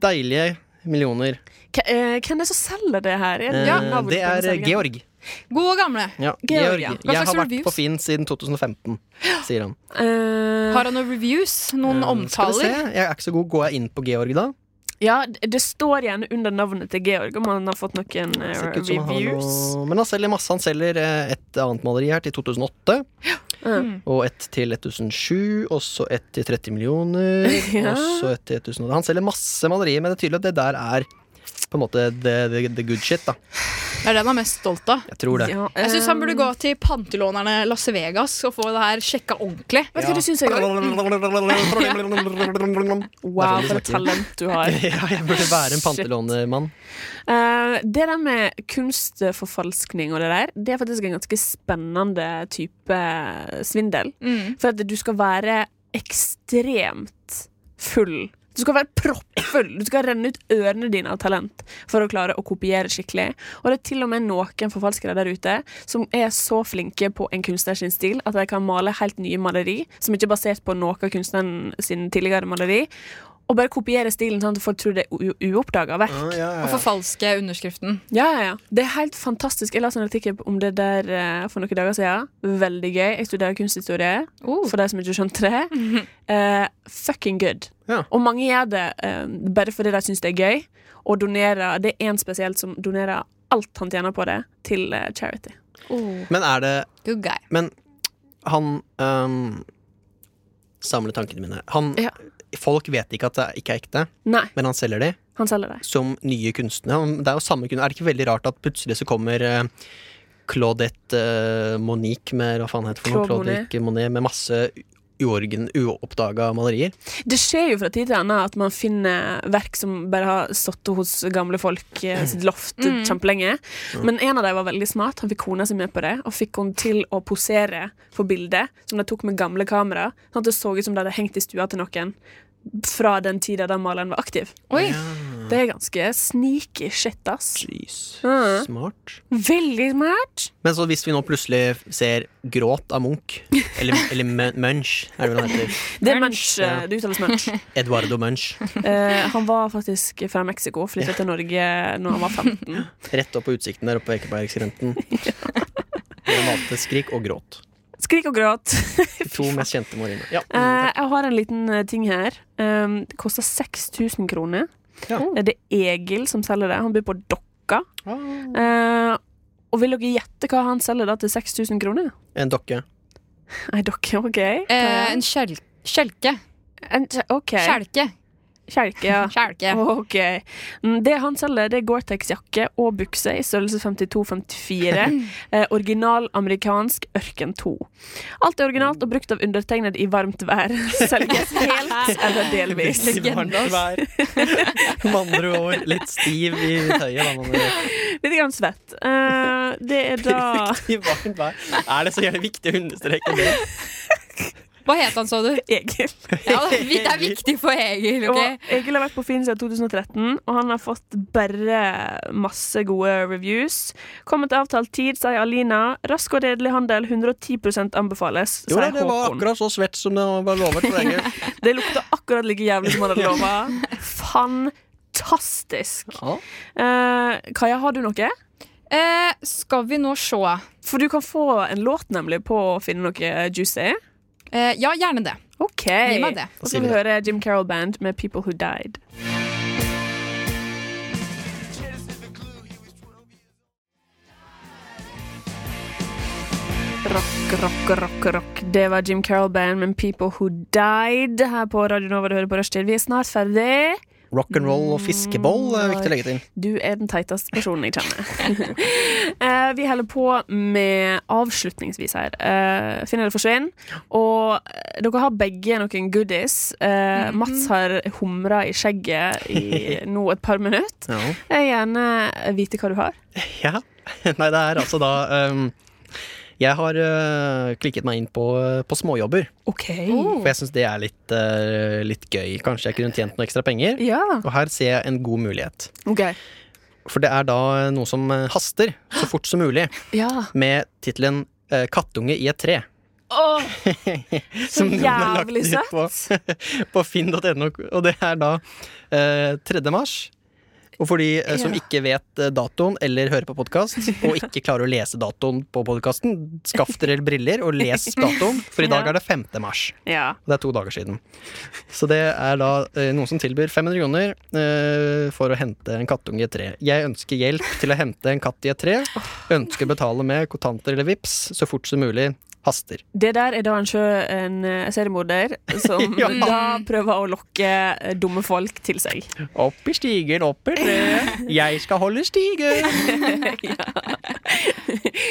deilige millioner. K eh, hvem er det som selger det her? Er det, Eh, nabobyen det som er selger? Georg. Gode og gamle. Ja, Georg. Georg, ja. Hva Jeg slags har vært reviews? på Finn siden 2015, sier han. Eh, Har han noen reviews? Noen Eh, Skal vi se, omtaler? jeg er ikke så god. Går jeg inn på Georg da? ja, d- det står gjerne under navnet til Georg om han har fått noen eh, Ser ikke ut som han har reviews. noe Men han selger masse. Han selger eh, et annet maleri her til 2008. Mm. Og et til 1007. Og så et til 30 millioner. Ja. Og så et til 1000. Han selger masse malerier, men det er tydelig at det der er på en måte the, the, the good shit, da. Det er den han er mest stolt av. Jeg tror det. Ja, Jeg syns han burde eh, gå til pantelånerne Las Vegas og få det her sjekka ordentlig. Vet du hva du syns, Georg? Det Wow, for er sånn et de snakker. talent du har. Ja, jeg burde være en Shit. pantelånermann. Eh, det der med kunstforfalskning og det der, det er faktisk en ganske spennende type eh, svindel. Mm. For at du skal være ekstremt full. Du skal være proppfull. Du skal renne ut ørene dine av talent for å klare å kopiere skikkelig. Og det er til og med noen forfalskere der ute som er så flinke på en kunstner sin stil at de kan male helt nye maleri som ikke er basert på noe av kunstneren sin tidligere maleri. Og bare kopiere stilen sånn at folk tror det er uoppdaga verk. Og forfalske underskriften. Ja, ja, ja. Det er helt fantastisk. Jeg leste en artikkel om det der eh, for noen dager siden. Veldig gøy. Jeg studerer kunsthistorie, Oh. for de som ikke skjønte det. Eh, fucking good. Ja. Og mange gjør det eh, bare fordi de syns det er gøy, og donerer Det er én spesielt som donerer alt han tjener på det, til eh, charity. Oh. Men er det Good guy. Men han um, Samle tankene mine. Han, Ja. Folk vet ikke at det ikke er ekte, Nei, men han selger de han selger det. som nye kunstnere. Han- Det er jo samme kunstner. Er det ikke veldig rart at plutselig så kommer eh, Claudette eh, Monique med hva faen heter det for noe? Claude Monet. Claude Monet med masse uorgen, uoppdaga malerier. Det skjer jo fra tid til annen at man finner verk som bare har stått hos gamle folk eh, sitt loft kjempelenge. Men en av dem var veldig smart. Han fikk kona si med på det, og fikk henne til å posere for bildet, som de tok med gamle kamera, sånn at det så ut som det hadde hengt i stua til noen fra den tida da maleren var aktiv. Oi, Det er ganske sneaky shit, ass. Jeez. Mm. Smart. Veldig smart. Men så hvis vi nå plutselig ser Gråt av Munch, eller, eller Mun- Munch, er det vel han heter. Det er Munch. Ja. eh, Det uttales Munch. Eduardo Munch. Eh, han var faktisk fra Mexico, flyttet til Norge når han var 15. Rett opp på utsikten der oppe på Ekebergskrenten. Han malte Skrik og Gråt. Skrik og gråt. De to mest kjente marine. Ja. Eh, jeg har en liten eh, ting her. Um, det koster 6000 kroner. Ja. Eh, Det er Egil som selger det. Han bor på Dokka. Mm. Eh, og vil dere gjette hva han selger da til 6000 kroner? En dokke. Ei dokke, OK. eh, en skjel skjelke. En kje- OK. Skjelke. Kjelke, ja. Skjelke. OK. Mm, Det han selger, det er Gore-Tex-jakke og bukse i størrelse Mm. 52-54. Eh, original amerikansk Ørken 2. Alt er originalt og brukt av undertegnede i varmt vær. Selges helt eller delvis. Med andre ord litt stiv i tøyet. Da, eh, man Litt grann svett. Eh, det er da I varmt vær. Er det så jævlig viktig å understreke det? Hva het han, så du? Egil. Ja, det det er viktig for Egil. ok? Og Egil har vært på Finn siden 2013, og han har fått bare masse gode reviews. Kommer til avtalt tid, sier Alina. Rask og redelig handel, 110 anbefales, Jo, sier da, det var Håkon. akkurat så svett som det var lovet. for lenge. Det lukter akkurat like jævlig som han hadde lova. Fantastisk. Ja. Eh, Kaja, har du noe? Eh, skal vi nå se. For du kan få en låt nemlig på å finne noe juicy. Eh, ja, gjerne det. Ok. Gi meg det. Og så skal vi høre Jim Carroll Band med 'People Who Died'. Rock, rock, rock, rock. Det var Jim Carroll Band med 'People Who Died' her på Radio Nova. Du hører på Rushtid. Vi er snart ferdig. Rock'n'roll og fiskeboll er viktig å legge til. Du er den teiteste personen jeg kjenner. Eh, vi holder på med avslutningsvis her. Eh, Finn eller forsvinn. Og eh, dere har begge noen goodies. Eh, Mats har humra i skjegget i nå et par minutter. Ja. Jeg vil gjerne vite hva du har. Ja. Nei, det er altså da ehm, Jeg har eh, klikket meg inn på, eh, på småjobber, OK. Mm. for jeg syns det er litt, eh, litt gøy. Kanskje jeg kunne tjent noe ekstra penger. Ja. Og her ser jeg en god mulighet. OK. For det er da noe som eh, haster så fort som mulig, Ja. med tittelen eh, 'Kattunge i et tre'. Åh, så noen har lagt jævlig liksom. ut På, på finn.no, og det er da eh, 3. mars. Og for de eh, som Ja. ikke vet eh, datoen eller hører på podkast, og ikke klarer å lese datoen på podkasten, skaff dere briller og les datoen, for i dag Ja. er det 5. mars. Ja. Og det er to dager siden. Så det er da eh, noen som tilbyr 500 kroner eh, for å hente en kattunge i et tre. Jeg ønsker hjelp til å hente en katt i et tre. Ønsker å betale med kontanter eller vips så fort som mulig. Haster. Det der er da en, sjø, en eh, seriemorder som Ja. da prøver å lokke eh, dumme folk til seg. Opp i stigen, opp i treet. Jeg skal holde stigen.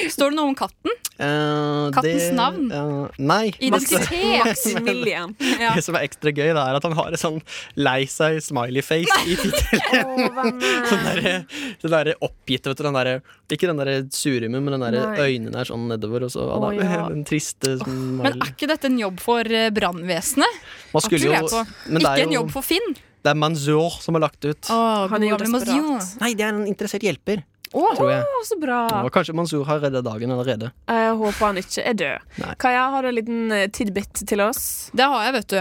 Står det noe om katten? Kattens navn? Eh, nei. Identitet? Maximilian. Ja. Det som er ekstra gøy, da, er at han har en sånn lei seg smiley-face i tittelen. Sånn derre- Den derre oppgitte, vet du. Den derre- ikke den derre surmumen, men den derre Nei. øynene er sånn nedover, og så Å, ja. den triste Men eh, sånn smiley. er ikke dette en jobb for eh, brannvesenet? Man skulle Lurer jo jeg på. Men det Ikke er en jo jobb for Finn. Det er Manzour som har lagt ut. Han er jo desperat. Nei, det er en interessert hjelper, Å, tror jeg. så bra. Og kanskje Manzour har redda dagen allerede. Jeg håper han ikke er død. Nei. Kaja, har du en liten eh, tidbit til oss? Det har jeg, vet du.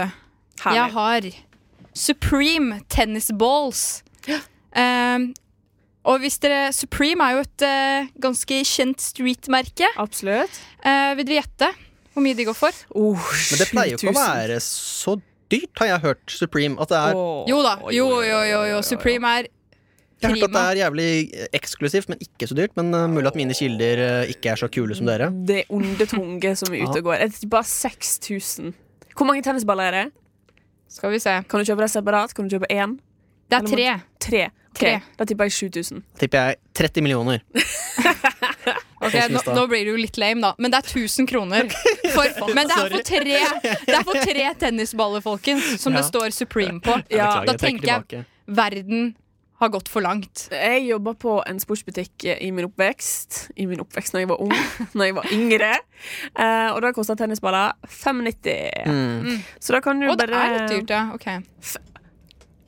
Jeg har Supreme Tennis Balls. Um, og hvis dere Supreme er jo et eh, ganske kjent street-merke. Absolutt. Eh, vil dere gjette hvor mye de går for? Oh, Men det pleier jo ikke å være så dyrt, har jeg hørt, Supreme. At det er Jo da. Jo, jo, jo, jo. Supreme er Jeg har hørt at det Prima. er jævlig eh, eksklusivt, men ikke så dyrt. Men eh, mulig at mine kilder eh, ikke er så kule som dere. Det er onde tunge som er ute og går. Jeg tipper bare 6000. Hvor mange tennisballer er det? Skal vi se. Kan du kjøpe det separat? Kan du kjøpe én? Det er tre. Tre. Ok, Tre. Da tipper jeg 7000. Da tipper jeg 30 millioner. Ok, Jeg nå, synes det. nå blir det jo litt lame, da. Men det er 1000 kroner. For, men det er for tre, det er for tre tennisballer, folkens, som det Ja. står Supreme på. Beklager, da jeg trekker tenker jeg tilbake. verden har gått for langt. Jeg jobba på en sportsbutikk eh, i min oppvekst. I min oppvekst når jeg var ung. Når jeg var yngre. Eh, og da kosta tennisballer 590. Mm. Så da kan du Å, det bare er litt dyrt, ja. Ok.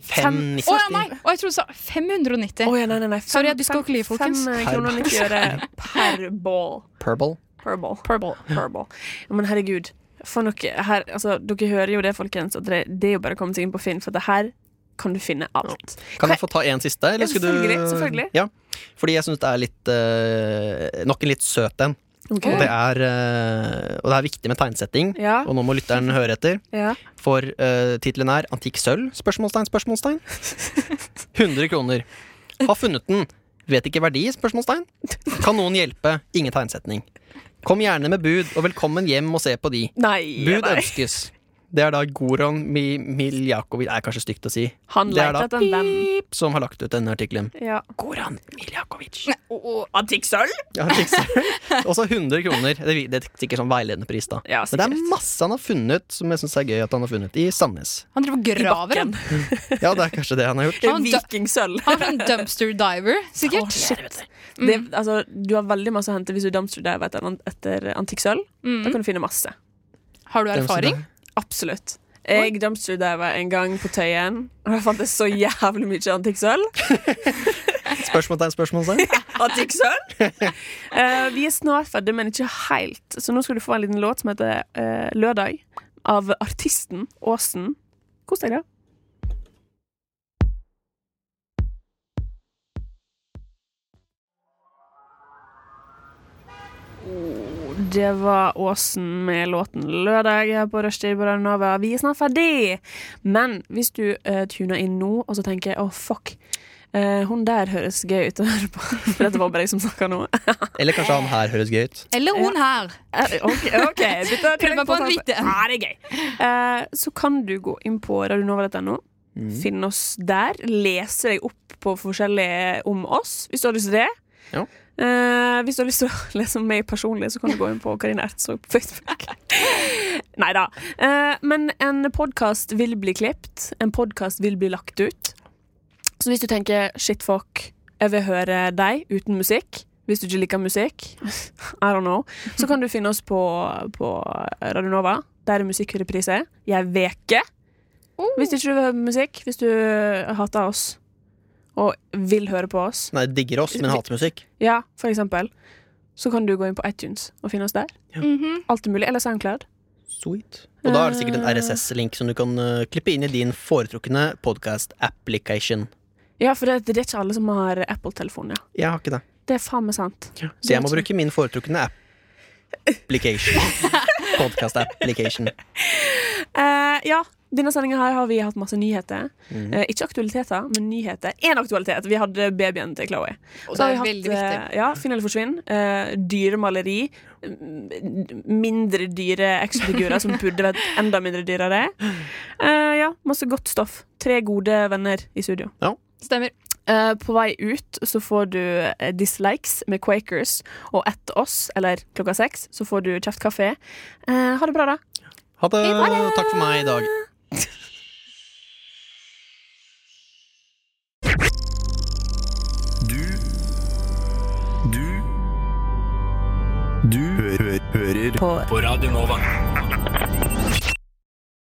Fem Fem- Å ja, nei! Å, jeg trodde du sa 590. Å ja, nei, nei, nei. Sorry, jeg disker ikke liv, folkens. Fem kroner og 90 øre per ball. purple. Per ball. Per ball. Ja, Men herregud, for noe her, altså, dere hører jo det, folkens, at det, det er jo bare å komme seg inn på Finn, for det her kan du finne alt. Kan jeg få ta en siste? eller Ja, skulle selvfølgelig, du... selvfølgelig. Ja. Fordi jeg syns det er litt eh, Nok en litt søt en. Og, det er, eh, og det er viktig med tegnsetting. Mm. Ja. Og nå må lytteren høre etter. Ja. For uh, tittelen er 'Antikk sølv?' spørsmålstegn, spørsmålstegn. 100 kroner. Har funnet den. Vet ikke verdi? spørsmålstegn. Kan noen hjelpe? Ingen tegnsetning. Kom gjerne med bud, og velkommen hjem og se på de. Nei, Bud nei. ønskes. Det er da Goran Mi Miljakovic Det er kanskje stygt å si. Han Det er leter da etter en venn. Pip som har lagt ut denne artikkelen. Ja. Goran Miljakovic. Antikk sølv? Ja, han fikk sølv. Også 100 kroner. Det er- det er sikkert sånn veiledende pris, da. Ja, Men det sikkert. er masse han har funnet som jeg syns er gøy at han har funnet i Sandnes. Han driver og graver. han. Ja, det er kanskje det han har gjort. Det er Han dø- Vikingsølv. Han er en dumpster diver, Å, sikkert. shit. Det, altså, du har veldig masse å hente hvis du dumpster diver etter, etter antikk sølv. Da kan du finne masse. Har du erfaring? Absolutt. Jeg dumpster diver en gang på Tøyen, og jeg fant det så jævlig mye antikk sølv. Spørsmålstegn, spørsmålstegn. Antikk sølv? Eh, vi er snart ferdig, men ikke helt. Så nå skal du få en liten låt som heter eh, 'Lørdag' av artisten Åsen. Kos deg, da. Oh, Det var Åsen med låten 'Lørdag' her på Rushtid på Radio Nova. Vi er snart ferdig! Men hvis du eh, tuner inn nå og så tenker 'å, fuck', eh, hun der høres gøy ut å høre på, for dette var bare jeg som snakka nå. Eller kanskje han her høres gøy ut. Eller hun her. Eh, OK. ok dette er Prøv meg på en hvit en. Ja, det er gøy. Eh, så kan du gå inn på radionova.no, finne oss der, lese deg opp på forskjellige om oss, hvis du har lyst til det. Ja. Eh, hvis du har lyst til å lese om meg personlig, så kan du gå inn på Karine Ertsvåg på Facebook. Nei da. Eh, men en podkast vil bli klipt. En podkast vil bli lagt ut. Så hvis du tenker 'shit, fuck, jeg vil høre deg uten musikk' hvis du ikke liker musikk, I don't know, så kan du finne oss på, på Radio Nova. Der er musikkreprise. Jeg veke. Hvis ikke du vil høre musikk, hvis du hater oss og vil høre på oss, Nei, digger oss, men hater musikk. ja, for eksempel, så kan du gå inn på iTunes og finne oss der. Alt er mulig. Eller SoundCloud. Sweet. Og da er det sikkert en RSS-link som du kan eh, klippe inn i din foretrukne podcast-application. Ja, for det, det er ikke alle som har Apple-telefon, ja. Jeg har ikke det. Det er faen meg sant. Så jeg må bruke min foretrukne application. Podcast-application. Eh, ja, denne sendinga her har vi hatt masse nyheter. Eh, ikke aktualiteter, men nyheter. Én aktualitet. Vi hadde babyen til Chloé. Og Så det har er vi veldig eh, viktig. ja, Finn eller forsvinn. Eh, dyre maleri. m- Mindre dyre actionfigurer som burde vært enda mindre dyrere. Eh, ja, masse godt stoff. Tre gode venner i studio. Stemmer. Eh, på vei ut så får du eh, dislikes med Quakers, og etter oss, eller klokka seks, så får du kjeftkafé. Eh, ha det bra, da. Ha det. Takk for meg i dag. Du Du Du hø hø hører På på Radio Nova.